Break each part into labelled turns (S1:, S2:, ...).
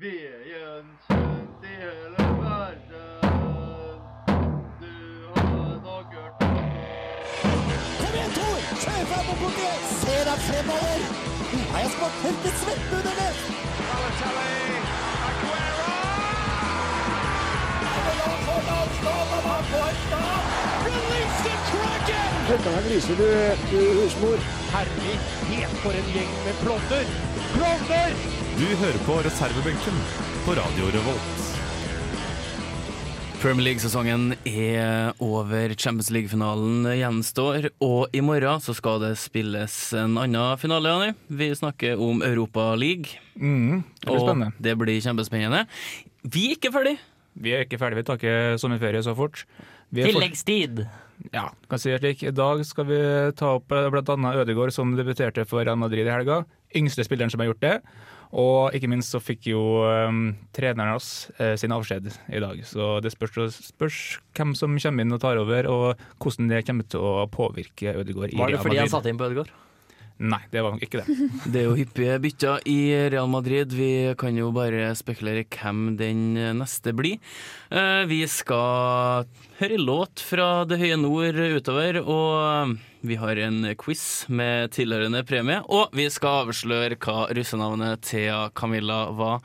S1: Ved gjenkjent i hele verden. Du har nok hørt om
S2: Kom igjen, Tor! Kjør fram mot politiet! Se deg fremover! Du har jo smakt helt til svette under det!
S3: Du hører på reservebenken på Radio Revolt.
S4: Premier League-sesongen er over. Champions League-finalen gjenstår. Og i morgen så skal det spilles en annen finale, Janni. Vi snakker om Europa League.
S5: Mm, Det blir spennende.
S4: Og det blir kjempespennende. Vi er ikke ferdig.
S5: Vi er ikke ferdige, vi tar ikke sommerferie så fort. Vi er fort-
S6: Tilleggstid.
S5: ja, kan si det slik. I dag skal vi ta opp eh, blant annet Ødegaard, som debuterte for Real Madrid i helga. Yngste spilleren som har gjort det. Og ikke minst så fikk jo eh, treneren hans eh, sin avskjed i dag. Så det spørs, spørs hvem som kommer inn og tar over, og hvordan det kommer til å påvirke Ødegaard i
S6: Var det
S5: Real
S6: fordi han
S5: Madrid.
S6: satte inn på Ødegaard?
S5: Nei, det var nok ikke det.
S4: Det er jo hyppige bytter i Real Madrid. Vi kan jo bare spekulere hvem den neste blir. Eh, Vi skal høre låt fra det høye nord utover, og vi har en quiz med tilhørende premie. Og vi skal avsløre hva russenavnet Thea Camilla var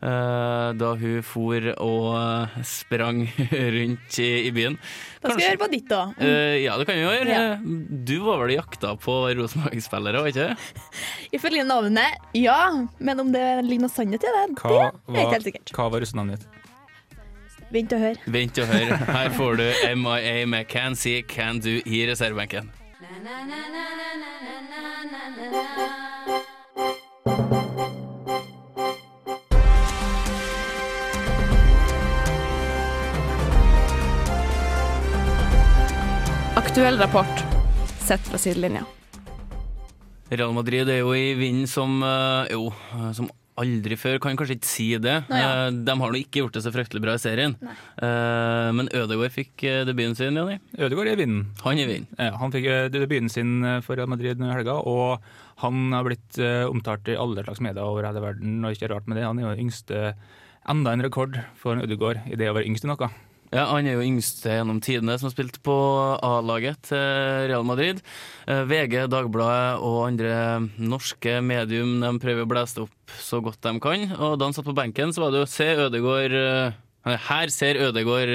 S4: eh, da hun for og sprang rundt i i byen.
S7: Da skal vi høre på ditt, da.
S4: Eh, ja, det kan vi gjøre.
S7: Ja.
S4: Du var vel jakta på Rosenborg-spillere, var ikke det?
S7: Ifølge navnet, ja. Men om det ligger noe sannhet i det,
S5: Hva
S7: det er ikke
S5: var,
S7: helt sikkert.
S5: hva var russenavnet ditt?
S7: Vent og hør.
S4: Vent og hør. Her får du MIA med Can See, Can Do i reservebenken.
S8: Aktuell rapport sett fra sidelinja.
S4: Real Madrid er jo i vinden som eh, Jo, eh, som aldri før. Kan kanskje ikke si det.
S7: Nei, ja.
S4: Eh, De har nå ikke gjort det så fryktelig bra i serien.
S7: Nei.
S4: Eh, Men Ødegaard fikk eh, debuten sin, Jonny.
S5: Ødegaard er i vinden.
S4: Han er i vinden.
S5: Ja, han fikk eh, debuten sin eh, for Real Madrid nå i helga, og han har blitt eh, omtalt i alle slags medier over hele verden, og ikke rart med det. Han er jo yngste Enda en rekord for en Ødegaard i det å være yngst i noe.
S4: Ja, han er jo yngste gjennom tidene som har spilt på A-laget til Real Madrid. Eh, VG, Dagbladet og andre norske medium de prøver å blæse det opp så godt de kan. Og da han satt på benken, så var det jo Se Ødegård Her ser Ødegård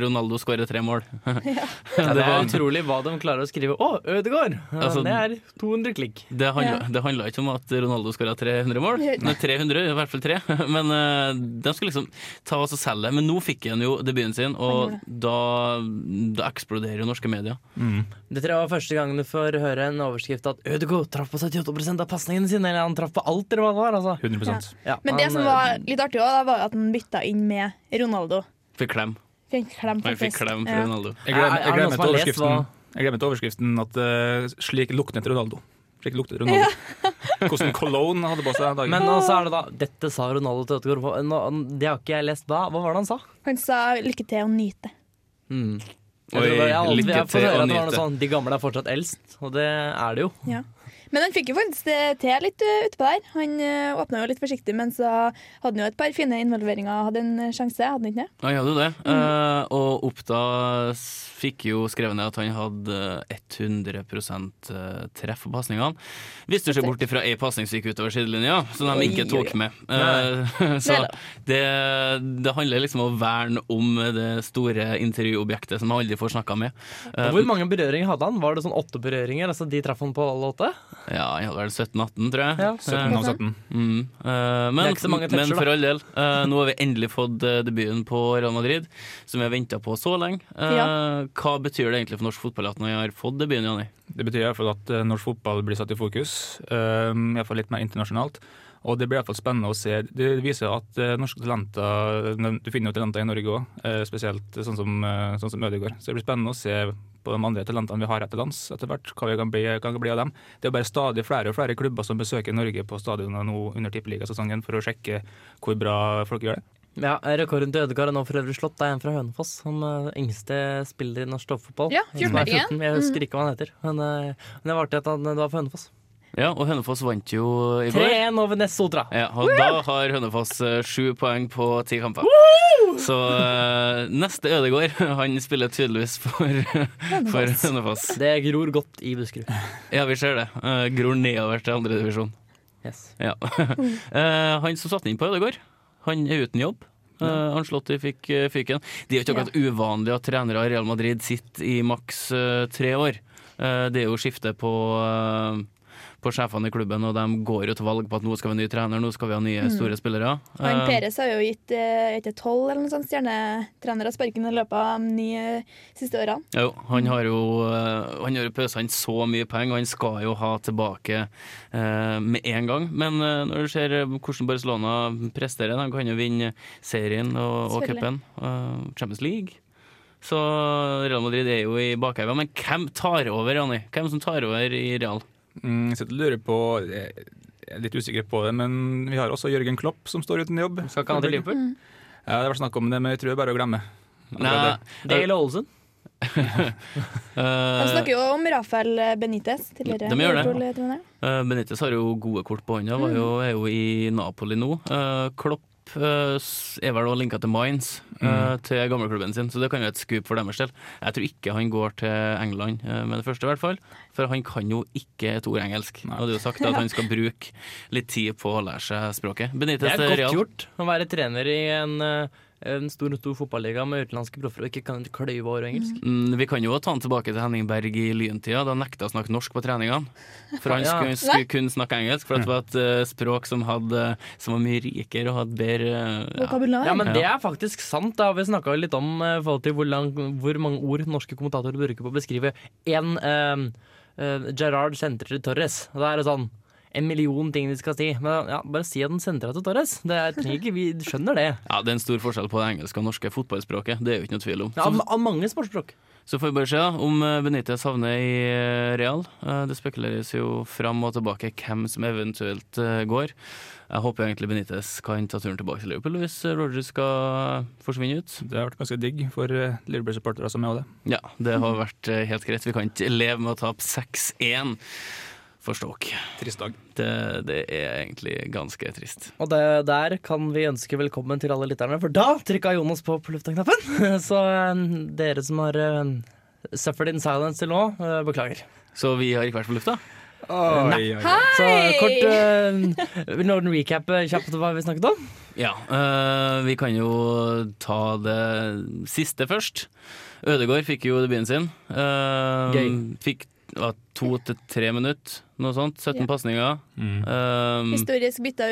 S4: Ronaldo skåre tre mål.
S6: Ja, det
S4: det,
S6: er
S4: var,
S6: utrolig hva de klarer å skrive. Å, Ødegaard! Ja,
S4: Altså,
S6: det er 200 klikk.
S4: det, handla,
S7: Ja.
S4: det handla ikke om at Ronaldo skåra 300 mål. Nei, 300, i hvert fall tre. Men eh, de skulle liksom ta oss og selge. Men nå fikk han jo debuten sin, og
S7: Han gjorde
S4: da, da eksploderer jo norske medier.
S6: Dette var første gangen du får høre en overskrift at Ødegaard traff på 78 av pasningene sine. Eller han traff på alt, eller hva det var. Altså.
S5: 100
S7: Ja.
S6: Ja,
S7: Men det
S6: han,
S7: som
S4: eh,
S7: var litt artig òg, var jo at han bytta inn med Ronaldo.
S4: Fikk klem.
S7: Fikk klem
S4: Jeg
S7: på
S4: fikk
S7: fest.
S4: klem fra
S7: Ja.
S4: Ronaldo.
S5: Jeg gleder-
S6: Er- er
S5: jeg
S6: det
S5: gleder meg
S6: noen som har
S5: til
S6: lest hva-
S5: overskriften, jeg gleder meg til overskriften at eh, 'slik luknet Ronaldo'. Slik luknet Ronaldo. Hvordan cologne han hadde på seg den dagen.
S6: Men altså, også eh, er det da Dette sa Ronaldo til Ødegaard. Hva- nå- Det har ikke jeg lest. Hva, hva var det han sa? Mm.
S7: Han sa 'lykke til og nyt det'.
S6: Jeg tror
S4: Oi,
S6: det- jeg har alltid-
S4: lykke
S6: jeg har fått
S4: til
S6: høre
S4: og
S6: at det var noe
S4: nyte.
S6: Sånn, de gamle er fortsatt eldst, og det er det jo.
S7: Ja. Men han fikk jo faktisk det til litt uh, utpå der. Han uh, åpna jo litt forsiktig, men så hadde han jo et par fine involveringer. Hadde en eh, sjanse, hadde han ikke det?
S4: Han hadde jo det.
S7: Mm.
S4: Eh, og Oppda s- fikk jo skrevet ned at han hadde 100 treff på pasningene. Viste seg bort ifra ei pasning som gikk utover sidelinja, som de ikke
S7: Oi, oi,
S4: tok med. Eh, så
S7: Neida.
S4: det, det handler liksom om å verne om det store intervjuobjektet som man aldri får snakka med. Eh,
S6: Og Hvor mange berøringer hadde han? Var det sånn åtte berøringer? Altså De traff han på alle åtte?
S4: Eh, ja, han hadde vel 17-18, tror jeg.
S6: Ja.
S5: 17 av 17.
S4: Mm. eh, men,
S6: Det er ikke så mange toucher,
S4: men for
S6: da.
S4: all del, eh, nå har vi endelig fått eh, debuten på Real Madrid, som vi har venta på så lenge. Eh, Hva betyr det egentlig for norsk fotball at han har fått debuten, Jonny?
S5: Det betyr i hvert fall at eh, norsk fotball blir satt i fokus, eh, i hvert fall litt mer internasjonalt. Og det blir i hvert fall spennende å se. Det viser at eh, norske talenter Du finner jo talenter i Norge òg, spesielt sånn som, eh, sånn som Ødegaard. Så det blir spennende å se på de andre talentene vi har etter lands etter hvert, hva vi kan bli, kan bli av dem. Det er bare stadig flere og flere klubber som besøker Norge på stadionene nå under tippeligasesongen for å sjekke hvor bra folk gjør det.
S6: Ja, Rekorden til Ødegaard er nå for øvrig slått. Det er en fra Hønefoss. Han eh, yngste spiller i norsk toppfotball.
S7: Ja,
S6: Han som er
S7: 14-åringen.
S6: 14. Jeg husker ikke hva han heter. Men eh, men det var artig at han, det var fra Hønefoss.
S4: Ja, og Hønefoss vant jo i går.
S6: 3-1 over Nessotra.
S4: Ja, og da har Hønefoss eh, sju poeng på ti kamper. Så eh, neste Ødegård, han spiller tydeligvis for, for Hønefoss.
S6: Det gror godt i Buskerud.
S4: Ja, vi ser det. Eh, gror nedover til andredivisjon.
S6: Yes.
S4: Ja. Eh, han som satte inn på Ødegård, han er uten jobb. Uh, Anslotti fikk eh, fyken. Det er jo ikke akkurat uvanlig at trenere i Real Madrid sitter i maks eh, tre år. Eh, det er jo skifte på, eh, på sjefene i klubben, og de går jo til valg på at nå skal vi ha ny trener, nå skal vi ha nye store spillere.
S7: Han
S4: Eh,
S7: Peres har jo gitt eh, etter tolv eller noe sånt stjernetrenere sparken i løpet av de ni eh, siste årene.
S4: Jo, han har jo eh, Han har jo pøsa inn så mye penger, og han skal jo ha tilbake eh, med en gang. Men eh, når du ser eh, hvordan Barcelona presterer, de kan jo vinne serien og, og
S7: Selvfølgelig.
S4: cupen. eh, Champions League. Så Real Madrid er jo i bakhauga. Men hvem tar over, Ronny? Hvem som tar over i Real?
S5: Mm, så jeg lurer på Jeg er litt usikker på det, men vi har også Jørgen Klopp som står uten jobb.
S4: Skal ikke han til Liverpool?
S5: Ja, det har vært snakk om det, men jeg tror det er bare å glemme.
S4: Nei,
S6: Dale Olsen.
S7: De snakker jo om Rafael Benitez, tidligere
S4: De gjør det.
S7: Liverpool-trener.
S4: Eh, Benitez har jo gode kort på hånda, var
S6: Mm.
S4: jo, er jo i Napoli nå. Eh, Klopp eh, s- er vel også linka til Mines,
S6: Mm.
S4: eh, til gamleklubben sin, så det kan jo være et skup for deres del. Jeg tror ikke han går til England eh, med det første, i hvert fall. For han kan jo ikke et ord engelsk. Og det er jo sagt at han skal bruke litt tid på å lære seg språket. Benitez
S6: Det er
S4: til
S6: godt
S4: Real.
S6: gjort å være trener i en, eh, en stor, stor fotballiga med utenlandske proffer og ikke kan kløyve over engelsk.
S4: Mm, Vi kan jo ta han tilbake til Henning Berg i lyntida. Da han nekta å snakke norsk på treningene. For han
S6: Ja.
S4: skulle, skulle kun snakke engelsk, for det var et eh, språk som, hadde, som var mye rikere og hadde bedre eh, ja.
S7: Vokabular.
S6: Ja, men det er faktisk sant. Da har vi snakka litt om eh, i forhold til hvor, lang, hvor mange ord norske kommentatorer bruker på å beskrive én Gerard sentrer til Torres. Og da er det sånn en million ting de skal si. Men ja, bare si at den sentrer til Torres. Det er, trenger ikke, vi skjønner det.
S4: ja, Det er en stor forskjell på det engelske og norske fotballspråket. Det er jo ikke noe tvil om.
S6: Ja, Av, av mange sportsspråk.
S4: Så får vi bare se da, om eh, Benitez havner i eh, Real. Eh, Det spekuleres jo fram og tilbake hvem som eventuelt eh, går. Jeg håper egentlig Benitez kan ta turen tilbake til Liverpool hvis eh, Roger skal forsvinne ut.
S5: Det har vært ganske digg for eh, Liverpool-supportere som er også det.
S4: Ja, det har vært eh, helt greit. Vi kan ikke leve med å tape 6-1 for Stoke.
S5: Trist dag.
S4: Det, det er egentlig ganske trist.
S6: Og det, der kan vi ønske velkommen til alle lytterne, for da trykka Jonas på på lufta-knappen. Så eh, dere som har eh, suffered in silence til nå, eh, beklager.
S4: Så vi har ikke vært på lufta.
S5: Oi, oi, oi.
S6: Så kort eh, Vil Norden recappe eh, kjapt hva vi snakket om?
S4: Ja, eh, vi kan jo ta det siste først. Ødegård fikk jo debuten sin. Eh,
S6: Gøy.
S4: Fikk ja, to til tre minutter, noe sånt. 17
S7: Ja.
S4: pasninger.
S5: Mm.
S4: Eh,
S7: Historisk bytta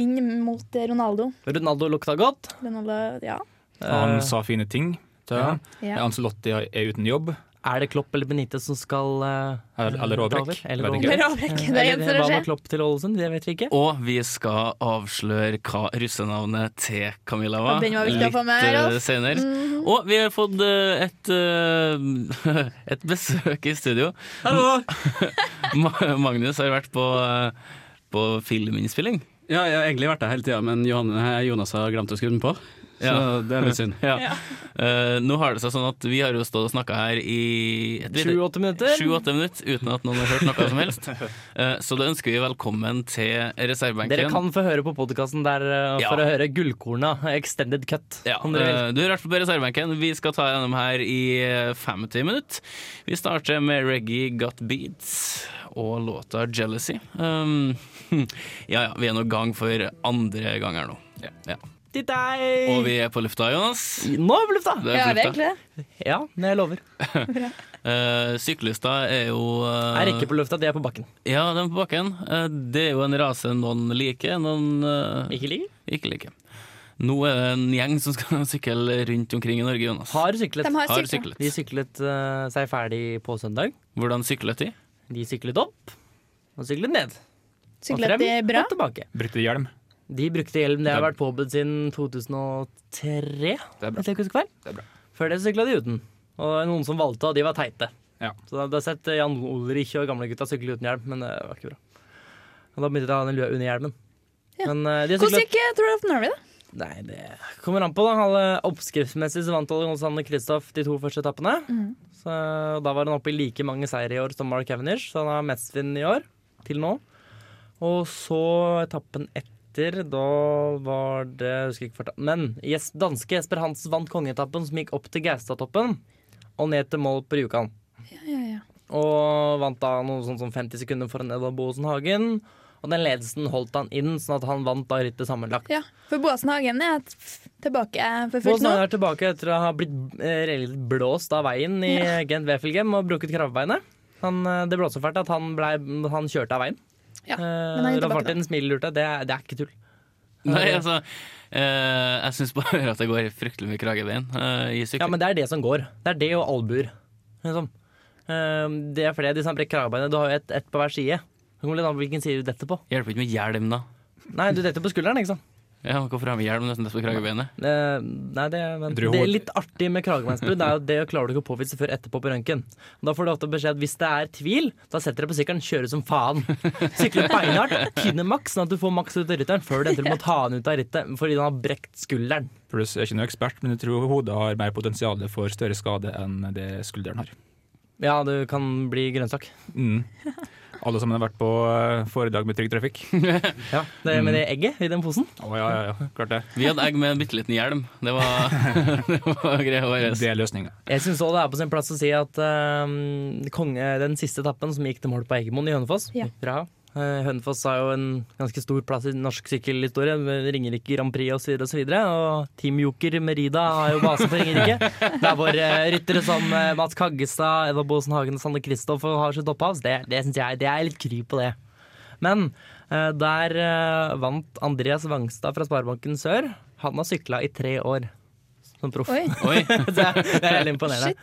S7: inn mot Ronaldo.
S6: Ronaldo lukta godt.
S7: Ronaldo ja.
S5: Han
S6: Eh,
S5: sa fine ting. Ja.
S7: Ja.
S5: Ancelotti er uten jobb.
S6: er det Klopp eller Benitez som skal eh,
S5: Eller, eller
S6: ta
S5: Råbrekk.
S6: over? Eller
S5: Vet ikke.
S7: Eller avbrekk. Det
S6: Eller
S7: gjenstår å
S6: hva med
S7: se.
S6: Klopp til Ålesund? Det vet vi ikke.
S4: Og vi skal avsløre hva russenavnet til Camilla var.
S7: Ja, den var viktig å få med,
S4: litt, eh,
S7: Rolf.
S4: senere. Og vi har fått eh, et, eh, et besøk i studio.
S9: Hallo!
S4: Ma- Magnus har vært på, eh, på filminnspilling.
S9: Ja, jeg har egentlig vært der hele tida, men Johan, nei, Jonas har glemt å skru den på. Så
S4: Ja.
S9: det er litt synd.
S4: Ja. Eh, nå har det seg sånn at vi har jo stått og snakka her i et lite-
S6: Sju-åtte minutter.
S4: sju-åtte minutter uten at noen har hørt noe som helst. Eh, så da ønsker vi velkommen til reservebenken.
S6: Dere kan få høre på podkasten der eh, for
S4: Ja.
S6: å høre gullkorna. Extended cut.
S4: Ja,
S6: om dere vil.
S4: eh, du er i hvert fall på reservebenken. Vi skal ta gjennom her i eh, 50 minutter. Vi starter med Reggae Got Beats og låta 'Jealousy'. Um, ja ja, vi er nå i gang for andre gang her nå. Ja.
S6: Til deg!
S4: Og vi er på lufta, Jonas.
S6: Nå er vi på lufta!
S4: Det
S7: Ja,
S4: på
S7: det er
S4: lufta.
S7: egentlig det.
S6: Ja, men jeg lover.
S4: Eh, syklister er jo eh,
S6: Jeg er ikke på lufta, de er på bakken.
S4: Ja, de er på bakken. Eh, det er jo en rase noen liker, noen eh,
S6: Ikke ligger.
S4: ikke liker. Nå er det en gjeng som skal sykle rundt omkring i Norge, Jonas.
S6: Har syklet.
S7: De har
S4: Har
S7: sykla.
S4: syklet.
S6: De syklet eh, seg ferdig på søndag.
S4: Hvordan syklet de?
S6: De syklet opp og syklet ned. Og
S7: Syklet det
S6: frem
S7: bra?
S6: og tilbake.
S5: Brukte hjelm.
S6: De brukte hjelm. Det har
S5: Det
S6: vært påbudt siden 2003.
S5: Det er bra.
S6: hvis jeg ikke husker feil.
S5: Det er bra.
S6: Før det sykla de uten. Og noen som valgte, og de var teite.
S5: Ja.
S6: Så da- da har sett Jan Olrich og gamlegutta sykle uten hjelm, men det var ikke bra. Og da begynte de å ha den lua under hjelmen.
S7: Ja.
S6: Men eh, de har
S7: Hvordan
S6: syklet
S7: gikk eh, Tour of Norway, da?
S6: Nei, det kommer an på. da Alle Oppskriftsmessig så vant Alexander Kristoff de to første Eh, etappene. Så Da var han oppe i like mange seire i år som Mark Cavendish, så han har mestvinnende i år. til nå. Og så etappen etter, da var det jeg husker ikke farta. Men Jes- danske Jesper Hansen vant kongeetappen, som gikk opp til Gaustatoppen og ned til mål på Rjukan.
S7: Ja, ja, ja.
S6: Og vant da noe sånt som 50 sekunder foran Edvard Boasen Hagen. Og den ledelsen holdt han inn, sånn at han vant da rittet sammenlagt.
S7: ja. For Boasen Hagen er t- tilbake for fullt
S6: Boasen
S7: nå.
S6: Hagen er tilbake etter å ha blitt eh, reelt blåst av veien i Gent Wefelgem og brukket kravbeinet. Han, eh, det blåste så fælt at han, ble, han kjørte av veien.
S7: Ja,
S6: Eh,
S7: men han er
S6: Ralf
S7: tilbake nå.
S6: Martin smilelurte. Det, er- det er ikke tull.
S4: Nei, altså eh, Jeg syns bare at det går fryktelig mye kragebein eh, i
S6: Ja,
S4: sykling.
S6: men det er det som går. Det er det og albuer. Liksom. Eh, Det er fordi de som brekker kragebeinet, du har jo ett et på hver side. Det kommer litt an på hvilken side du detter på.
S4: Hjelper ikke med hjelm, da.
S6: Nei, du detter på skulderen, ikke sant?
S4: Ja, Hvorfor har vi hjelm nesten på kragebeinet?
S6: Eh, nei, det, men,
S5: Dro-
S6: det er litt artig med kragebeinsbrudd er jo at det klarer du ikke å påvise før etterpå på røntgen. Da får du ofte beskjed at hvis det er tvil, da setter deg på sykkelen, kjører som faen. Sykler beinhardt, tynner maks, sånn at du får maks ut av rytteren før du etter du må ta han ut av rittet fordi han har brekt skulderen.
S5: Pluss, jeg er ikke noen ekspert, men jeg tror hodet har mer potensial for større skade enn det skulderen har.
S6: Ja, du kan bli grønnsak.
S5: Mm. Alle sammen har vært på eh, foredrag med Trygg Trafikk.
S6: Ja, det med det egget i den posen.
S5: Å ja, ja, ja, klart det.
S4: Vi hadde egg med en bitte liten hjelm. Det var, det var greia vår.
S5: Det er løsninga.
S6: Jeg syns òg det er på sin plass å si at ehm, konge, den siste etappen som gikk til mål på Eggemoen i Hønefoss
S7: Ja.
S6: Bra. Eh, Hønefoss har jo en ganske stor plass i norsk sykkelhistorie. med Ringerike Grand Prix osv. Og, så videre, og Team Joker Merida har jo base på Ringerike. Der hvor eh, ryttere som eh, Mats Kaggestad, Eva Bosen Hagen og Sanne Kristoff har sitt opphav. Så Det, det syns jeg det er litt kry på det. Men eh, der eh, vant Andreas Wangstad fra Sparebanken Sør. Han har sykla i tre år som proff.
S7: Oi.
S4: Oi,
S6: Det er, det er veldig imponerende.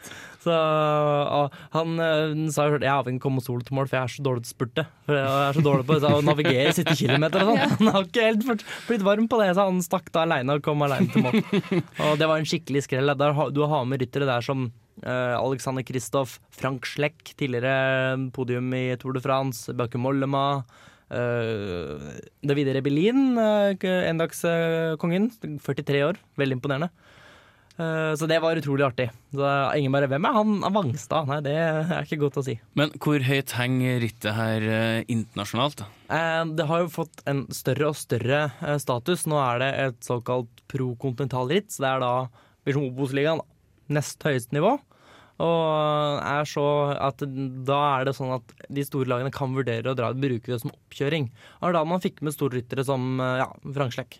S6: Så, og han øh, sa jo selv, jeg har ikke kommet sol til mål, for jeg er så dårlig til spurte. For jeg er så dårlig på å navigere 70 km og sånn. Han har ikke helt fort- blitt varm på det, så han stakk da aleine og kom aleine til mål. Og det var en skikkelig skrell. Der, har- du har med ryttere der som øh, Alexander Kristoff, Frank Schleck, tidligere eh, podium i Tour de France, Bauke Mollema. øh, Davide Rebellin, uh, endagskongen. 43 eh, år, veldig imponerende. Eh, Så det var utrolig artig. Så ingen bare, Hvem er han Er Vangstad? Nei, det er ikke godt å si.
S4: Men hvor høyt henger rittet her eh, internasjonalt? da?
S6: Eh, Det har jo fått en større og større eh, status. Nå er det et såkalt pro-kontinentalritt. Så det er da Visjon Obos-ligaen. da. Nest høyeste nivå. Og eh, er så at da er det sånn at de store lagene kan vurdere å dra, bruke det som oppkjøring. Og det er da man fikk med storryttere som eh, ja, Frank Slekk.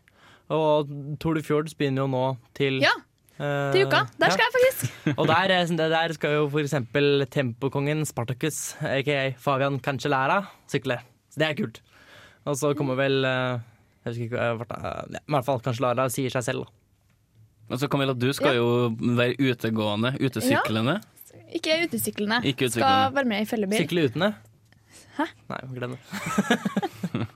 S6: Og Tour de Fjords begynner jo nå til
S7: Ja,
S6: eh,
S7: til uka. Der skal jeg faktisk.
S6: Og der, eh, det der skal jo for eksempel tempokongen Spartacus, aka Fabian Cancellara, sykle. Så det er kult. Og så kommer vel eh, Jeg husker ikke eh, hva eh, ja, I hvert fall Cancellara sier seg selv, da.
S4: Altså, Camilla, du skal jo være utegående, utesyklende.
S7: Ikke utesyklende.
S4: Ikke
S7: Skal
S4: utesyklende.
S7: være med i fellebil.
S6: Sykle utene.
S7: Hæ?
S6: Nei, glem det.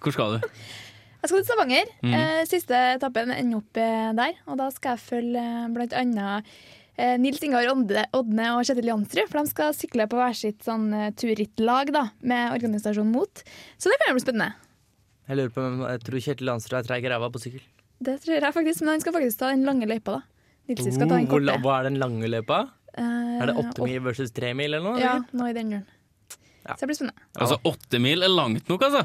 S4: Hvor skal du?
S7: Jeg skal til Stavanger.
S4: Mhm.
S7: Eh, siste etappen ender opp eh, der. Og da skal jeg følge eh, blant annet eh, Nils Ingar Odde, Odne og Kjetil Jansrud. For de skal sykle på hver sitt sånn eh, turrittlag da, med organisasjonen MOT. Så det kan jo bli spennende.
S6: Jeg lurer på hvem Jeg tror Kjetil Landsrud er treig i ræva på sykkel.
S7: Det tror jeg faktisk, men han skal faktisk ta den lange løypa, da. Nils skal ta den
S6: Oh, Hvor la-
S7: korte.
S6: hva er den lange løypa?
S7: Eh,
S6: Er det åtte
S7: og-
S6: mil versus tre mil, eller noe?
S7: Ja, nå i den julen.
S6: Ja.
S7: Så det blir spennende.
S4: Altså, åtte mil er langt nok, altså.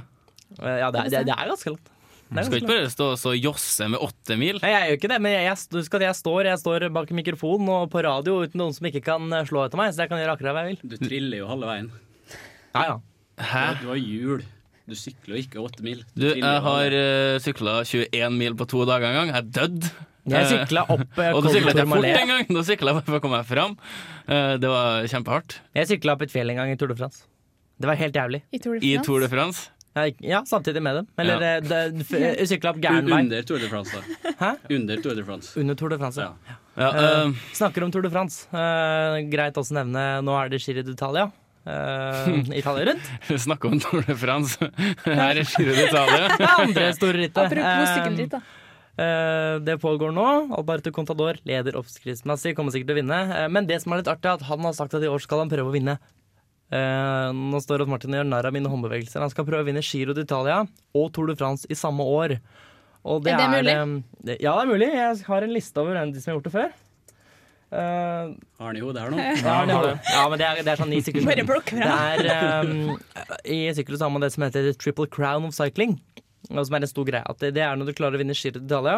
S6: Eh, ja det, er- det, det er ganske langt. Det
S4: Du
S6: er
S4: skal
S6: ganske
S4: ikke
S6: langt.
S4: bare stå og så josse med åtte mil.
S6: Nei, jeg gjør ikke det, men jeg, jeg, husk at jeg står, jeg står bak mikrofonen og på radio uten noen som ikke kan eh, slå etter meg, så jeg kan gjøre akkurat hva jeg vil.
S9: Du triller jo halve veien.
S6: Ja, ja.
S4: Hæ?
S9: Du har hjul. Du sykler jo ikke åtte mil.
S4: Du,
S9: triller jo
S4: jeg
S9: halve
S4: har uh, sykla 21 mil på to dager en gang. Jeg er dødd.
S6: Jeg sykla opp eh,
S4: Og da sykla jeg ikke
S6: Tormalé.
S4: fort en gang. Da sykla jeg bare for å komme meg fram. Eh, det var kjempehardt.
S6: Jeg sykla opp et fjell en gang i Tour de France. Det var helt jævlig.
S7: I Tour de
S4: I
S7: France.
S4: Tour de France.
S6: Jeg, gikk- ja, samtidig med dem. Eller
S4: Ja.
S6: eh, det- f- jeg sykla opp
S9: veien.
S6: gæren vei
S9: Under Tour de France, da.
S6: Hæ?
S9: Under Tour de France.
S6: under Tour de France.
S9: Ja.
S6: Ja.
S4: Ja,
S6: Eh,
S4: eh,
S6: Snakker om Tour de France. Eh, greit også nevne Nå er det Giro d'Italia. Eh, Italia rundt.
S4: Snakke om Tour de France. Her er Giro d'Italia.
S6: Det er andre store rittet.
S7: Apropos
S6: Eh,
S7: sykkelritt, da.
S6: Eh, Det pågår nå. Alberto Contador leder oppskriftsmessig, kommer sikkert til å vinne. Eh, Men det som er litt artig, er at han har sagt at i år skal han prøve å vinne. Eh, nå står det at Martin gjør narr av mine håndbevegelser. Han skal prøve å vinne Giro d'Italia og Tour de France i samme år.
S7: Er
S6: Og
S7: det
S6: eh, ja, det er mulig. Jeg har en liste over de som har gjort det før. Eh,
S9: Arne Jo, det er noe.
S6: ja, det har du. ja, men det er, det er sånn i
S10: Bare
S6: sykkelsporten.
S10: plukke
S6: Det
S10: fra.
S6: er, ehm, I sykkel så har man det som heter triple crown of cycling. og Som er en stor greie at Det det er når du klarer å vinne Giro d'Italia,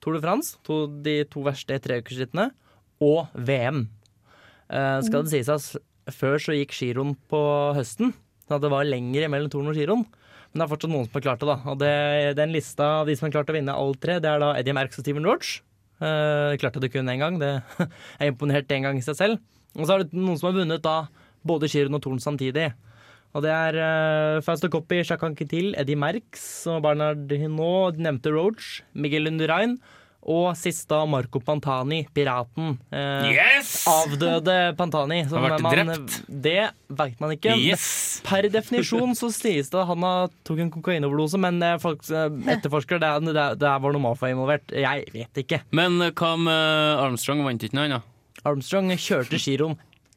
S6: Tour de France, to, de to verste treukersrittene, og VM. Eh, skal det sies at før så gikk giroen på høsten, sånn at det var lenger mellom touren og giroen. Men det er fortsatt noen som har klart det. da Og det, Den lista av de som har klart å vinne alle tre, det er da Eddie Merckx og Steven Roach. Eh, klarte det kun én gang. Det er imponert én gang i seg selv. Og så er det noen som har vunnet da både Giron og Torn samtidig. Og det er uh, Fausto Coppi, Chakan Kintil, Eddie Merx og Bernard Hinault, nevnte Roach, Miguel Lundurain og sist da Marco Pantani, piraten. eh,
S4: Yes!
S6: Avdøde Pantani. som
S4: Har vært
S6: man-
S4: drept.
S6: Det veit man ikke.
S4: Yes!
S6: Per definisjon så sies det at han har- tok en kokainoverdose, men eh, folk eh, etterforsker det, er- det, er- det er- var noe mafia involvert. Jeg vet ikke.
S4: Men eh, hva med Armstrong? Vant ikke noe annet?
S6: Armstrong kjørte giroen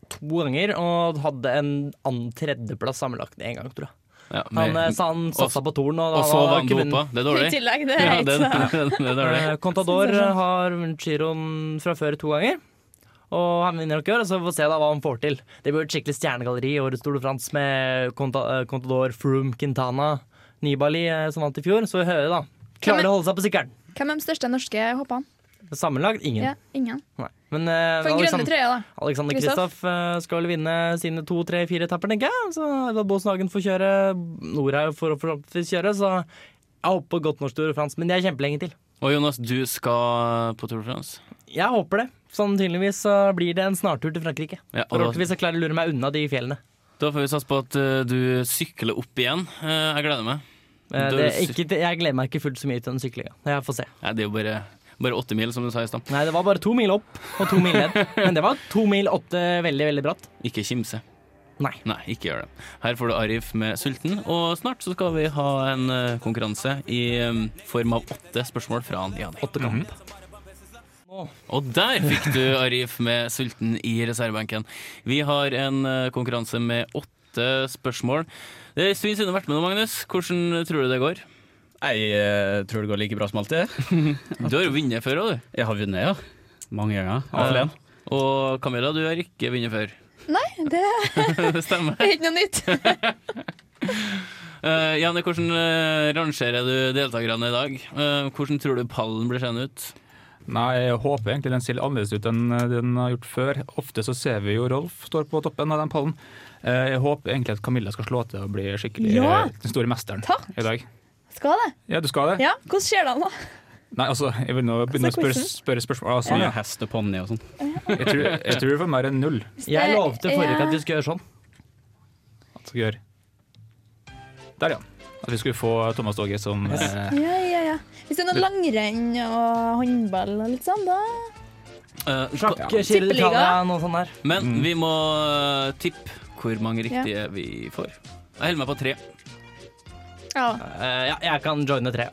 S6: to ganger og hadde en annen tredjeplass sammenlagt én gang, tror jeg.
S4: Ja,
S6: Han, eh,
S4: men-
S6: sa han satsa
S4: og-
S6: på torn, og,
S4: og så
S6: han har
S4: vant
S6: ikke
S4: dopa.
S6: vunnet.
S4: Det er
S10: I
S4: dårlig.
S10: tillegg, det er
S4: Ja,
S10: helt
S4: det,
S10: sånn.
S4: det, det er dårlig.
S6: Eh, Contador
S7: sånn.
S6: eh, har vunnet giroen fra før to ganger. Og han vinner nok i år, så får vi se da hva han får til. Det blir et skikkelig stjernegalleri i årets Tour de France med Conta, eh, Contador, Froome, Quintana, Nibali eh, som vant i fjor. Så vi hører da.
S7: Hvem er-
S6: Klarer å holde seg på sykkelen.
S7: Hvem er de største norske hoppene?
S6: Sammenlagt ingen.
S7: Ja, ingen.
S6: Nei. Men eh,
S7: For en grønne
S6: Alexander-
S7: trøye, da.
S6: Alexander
S7: Kristoff?
S6: Kristoff eh, skal vel vinne sine to, tre, fire etapper, tenker jeg. Så Edvard Bosen Hagen får kjøre. Norhaug får forhåpentligvis kjøre, så jeg håper på godt norsk Tour de France, men det er kjempelenge til.
S4: Og Jonas, du skal på Tour de France.
S6: Jeg håper det. Sannsynligvis så blir det en snartur til Frankrike.
S4: Ja, og da,
S6: Forhåpentligvis jeg klarer å lure meg unna de fjellene.
S4: da får vi satse på at eh, du sykler opp igjen. Eh, jeg gleder meg.
S6: Eh,
S4: Da
S6: Det,
S4: er du
S6: ikke, jeg gleder meg ikke fullt så mye til den syklinga. Jeg får se.
S4: Nei, det er jo bare, bare åtte mil, som du sa i stad.
S6: Nei, det var bare to mil opp og to mil ned. Men det var to mil opp til veldig, veldig bratt.
S4: Ikke kimse.
S6: Nei.
S4: Nei, ikke gjør det. Her får du Arif med Sulten, og snart så skal vi ha en eh, konkurranse i eh, form av åtte spørsmål fra han Jani. Og der fikk du Arif med Sulten i reservebenken. Vi har en eh, konkurranse med åtte spørsmål. Det er en stund siden du har vært med nå, Magnus. Hvordan tror du det går?
S9: Jeg eh, tror det går like bra som alltid.
S4: Du har jo vunnet før òg, du. Eh,
S9: Jeg har vunnet, ja. Mange ganger. Iallfall én.
S4: Og Camilla, du har ikke vunnet før.
S7: Det
S4: Det stemmer.
S7: er ikke noe nytt.
S4: Eh, Janne, hvordan eh, rangerer du deltakerne i dag? Eh, hvordan tror du pallen blir seende ut?
S5: Nei, jeg håper egentlig den ser litt annerledes ut enn eh, den har gjort før. Ofte så ser vi jo Rolf står på toppen av den pallen. Eh, Jeg håper egentlig at Camilla skal slå til og bli skikkelig
S7: Ja!
S5: eh, den store mesteren
S7: Takk.
S5: i dag.
S7: Skal det?
S5: Ja, du skal det?
S7: Ja, hvordan skjer det an, da?
S5: Nei, altså, jeg vil nå begynne å
S7: Altså,
S5: spørre,
S7: quizen.
S5: spørre spørsmål. Altså,
S9: Mye hest og ponni og sånn.
S5: jeg, tror, jeg tror det får mer enn null.
S6: Jeg lovte forrige
S7: Eh, Ja.
S6: uke at vi skulle gjøre sånn.
S5: At vi gjør. Der, ja. At vi skulle få Thomas Dogge som eh,
S7: Ja, ja, ja. Hvis det er noe langrenn og håndball og litt sånn, da
S4: Eh,
S6: Sjakk,
S4: ka-
S6: Giro
S7: Tippeliga.
S6: d'Italia, noe sånt der.
S4: men
S9: Mm.
S4: vi må eh, tippe hvor mange riktige vi får. Jeg holder meg på tre.
S7: Ja.
S6: Eh, ja, jeg kan joine tre.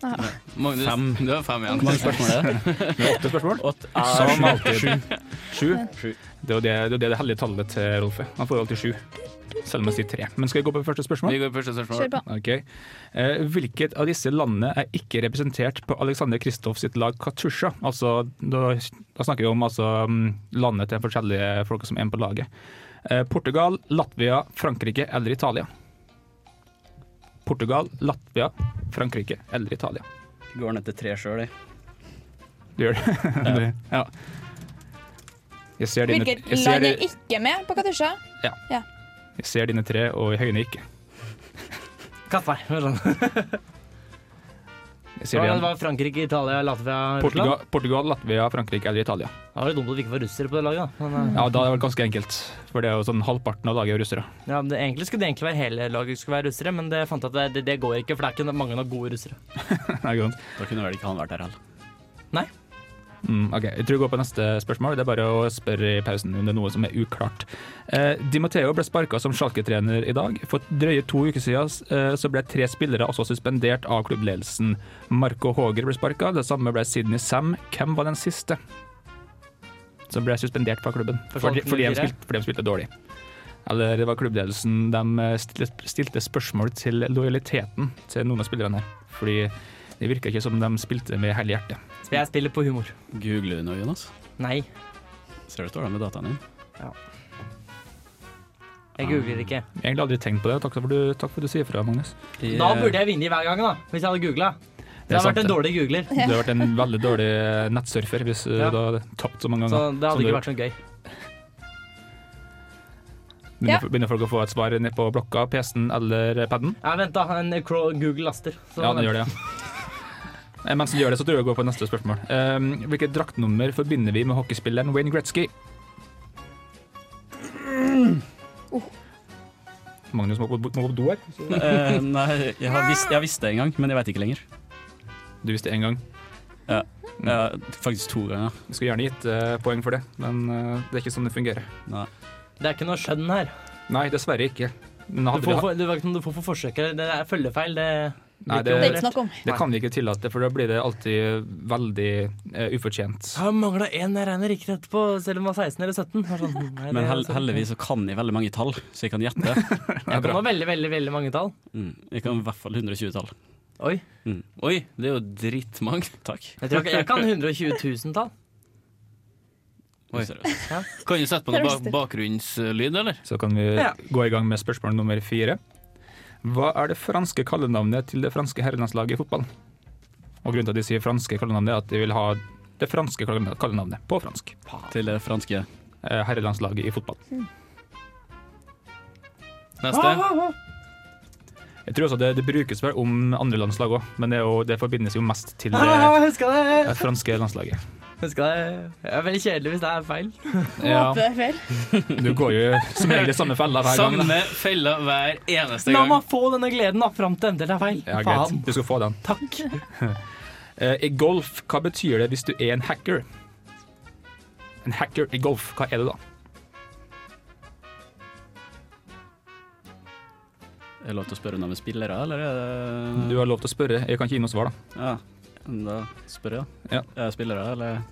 S4: Magnus,
S9: Fem.
S4: du har fem
S9: Hvor
S4: igjen.
S9: mange spørsmål er det?
S5: åtte spørsmål.
S9: Som alltid.
S5: Sju. Det er jo det, det, er det, det heldige tallet til Rolf er. Han får jo alltid sju. Selv om han sier tre. Men skal vi gå på første spørsmål?
S4: Vi går på første
S7: Kjør
S4: spørsmål.
S7: på.
S5: Ok. Eh, hvilket av disse landene er ikke representert på Alexander Kristoff sitt lag Katusha? Altså, da, da snakker vi om altså, mm, landet til forskjellige folk som er med på laget. Eh, Portugal, Latvia, Frankrike eller Italia? Portugal, Latvia, Frankrike eller Italia.
S9: Går ned til tre sjøl, jeg.
S5: Du gjør det? Ja. Jeg, ser dine,
S7: Hvilket
S5: jeg, ser,
S7: land er
S5: di-
S7: ikke med på Katusha?
S5: jeg ser dine tre, og jeg høyner ikke.
S6: Katt meg. hør sånn.
S5: Jeg ser det
S6: Det
S5: igjen.
S6: var Frankrike, Italia, Latvia, Russland.
S5: Portugal, Portugal, Latvia, Frankrike eller Italia.
S6: Det var litt dumt at vi ikke var russere på det laget. da. Men, eh,
S5: Ja, Da er det vel ganske enkelt, for det er jo sånn halvparten av laget er russere.
S6: Ja, men det, egentlig skulle det egentlig være hele laget skulle være russere, men det fant jeg at det, det, det går ikke, for det er ikke mange nok gode russere.
S5: Nei, ikke sant?
S9: Da kunne vel ikke han vært her heller.
S5: Mm, ok, Jeg tror vi går på neste spørsmål. Det er bare å spørre i pausen om det er noe som er uklart. Eh, Di Matteo ble sparka som Schalke-trener i dag. For drøye to uker siden eh, så ble tre spillere også suspendert av klubbledelsen. Marco Håger ble sparka, det samme ble Sydney Sam. Hvem var den siste som ble suspendert fra klubben?
S6: For
S5: Fordi,
S6: Schalke
S5: fordi, de,
S6: 04?
S5: spilte, fordi de spilte dårlig. Eller det var klubbledelsen. De stilte, stilte spørsmål til lojaliteten til noen av spillerne her. Fordi det virka ikke som de spilte med hele hjertet.
S6: Så jeg spiller på humor.
S9: Googler du nå, Jonas?
S6: Nei.
S9: Ser du står der med dataen din?
S6: Jeg googler ikke.
S5: Jeg har egentlig aldri tenkt på det. Takk for, du, takk for at du sier fra, Magnus.
S6: Da burde jeg vinne hver gang, da. Hvis jeg hadde googla. Det har
S5: sant,
S6: vært en
S5: det.
S6: dårlig googler.
S5: Du har vært en veldig dårlig nettsurfer hvis eh,
S6: Ja.
S5: du hadde tapt så mange
S6: Så
S5: ganger. som
S6: det hadde
S5: du
S6: ikke vært så gøy.
S5: Begynner,
S7: Ja.
S5: begynner folk å få et svar ned på blokka, PC-en eller paden?
S6: Ja, vent, da. En cro- Google laster. Så
S5: Ja, det gjør det, ja. Eh, Mens du gjør det, så tror jeg jeg går på neste spørsmål. Um, hvilket draktnummer forbinder vi med hockeyspilleren Wayne Gretzky? Oh. Magnus må på, må på do her.
S9: Eh, nei, jeg har, visst, jeg har visst det en gang, men jeg veit ikke lenger.
S5: Du visste én gang.
S4: Mm.
S9: Eh, faktisk to ganger.
S5: Jeg skulle gjerne gitt eh, poeng for det, men eh, det er ikke sånn det fungerer.
S9: Nei.
S6: Det er ikke noe skjønn her.
S5: Nei, dessverre ikke. Men
S6: Du
S5: hadde
S6: får,
S5: vi hatt-
S6: for, du, vet ikke om du får for forsøk her. Det er følgefeil. Det,
S5: Nei,
S6: det
S5: det-
S6: er ikke noe-
S10: snakk om.
S5: det kan vi ikke tillate, for da blir det alltid veldig eh, ufortjent.
S6: Jeg har mangla én jeg regner riktig etterpå, selv om jeg var 16 eller 17. Jeg var Sånn, nei, det
S9: Men
S6: er
S9: hel,
S6: sånn.
S9: heldigvis så kan jeg veldig mange tall, så jeg kan gjette.
S5: Det er
S6: Jeg kan
S5: bra.
S6: ha veldig, veldig veldig mange tall.
S9: Mm. Jeg kan i hvert fall 120 tall.
S6: Oi.
S9: Mm.
S4: Oi, det er jo drittmange.
S9: Takk.
S6: Jeg, tror jeg, jeg kan 120 000 tall.
S4: Oi.
S9: Seriøst.
S4: Kan du sette på noe
S7: Terrorister.
S4: ba bakgrunnslyd, eller?
S5: Så kan vi
S6: Ja.
S5: gå i gang med spørsmål nummer fire. Hva er det franske kallenavnet til det franske herrelandslaget i fotball? Og grunnen til at de sier franske kallenavnet, er at de vil ha det franske kallen- kallenavnet på fransk.
S9: Til det franske.
S5: Eh, Herrelandslaget i fotball.
S4: Neste.
S5: Jeg tror også det, det brukes vel om andre landslag òg, men det, er jo, det forbindes jo mest til eh,
S6: Ah,
S5: det,
S6: huska det!
S5: det franske landslaget.
S6: Huska det. Det er veldig kjedelig hvis det er feil.
S5: Ja,
S10: Håper det er feil.
S5: du går jo som regel i samme fella hver gang. da.
S4: Samme fella hver eneste
S6: La
S4: gang.
S6: meg få denne gleden da, fram til endelig det er feil.
S5: Ja, greit.
S6: Faen.
S5: Du skal få den.
S6: Takk.
S5: Eh, I golf, hva betyr det hvis du er en hacker? En hacker i golf, hva er det da?
S9: Er det lov til å spørre om de er spillere, eller er
S4: Mm.
S9: det
S5: Du har lov til å spørre, jeg kan ikke gi noe svar da.
S9: Ja, da spør jeg.
S5: Ja.
S9: Er jeg spillere, eller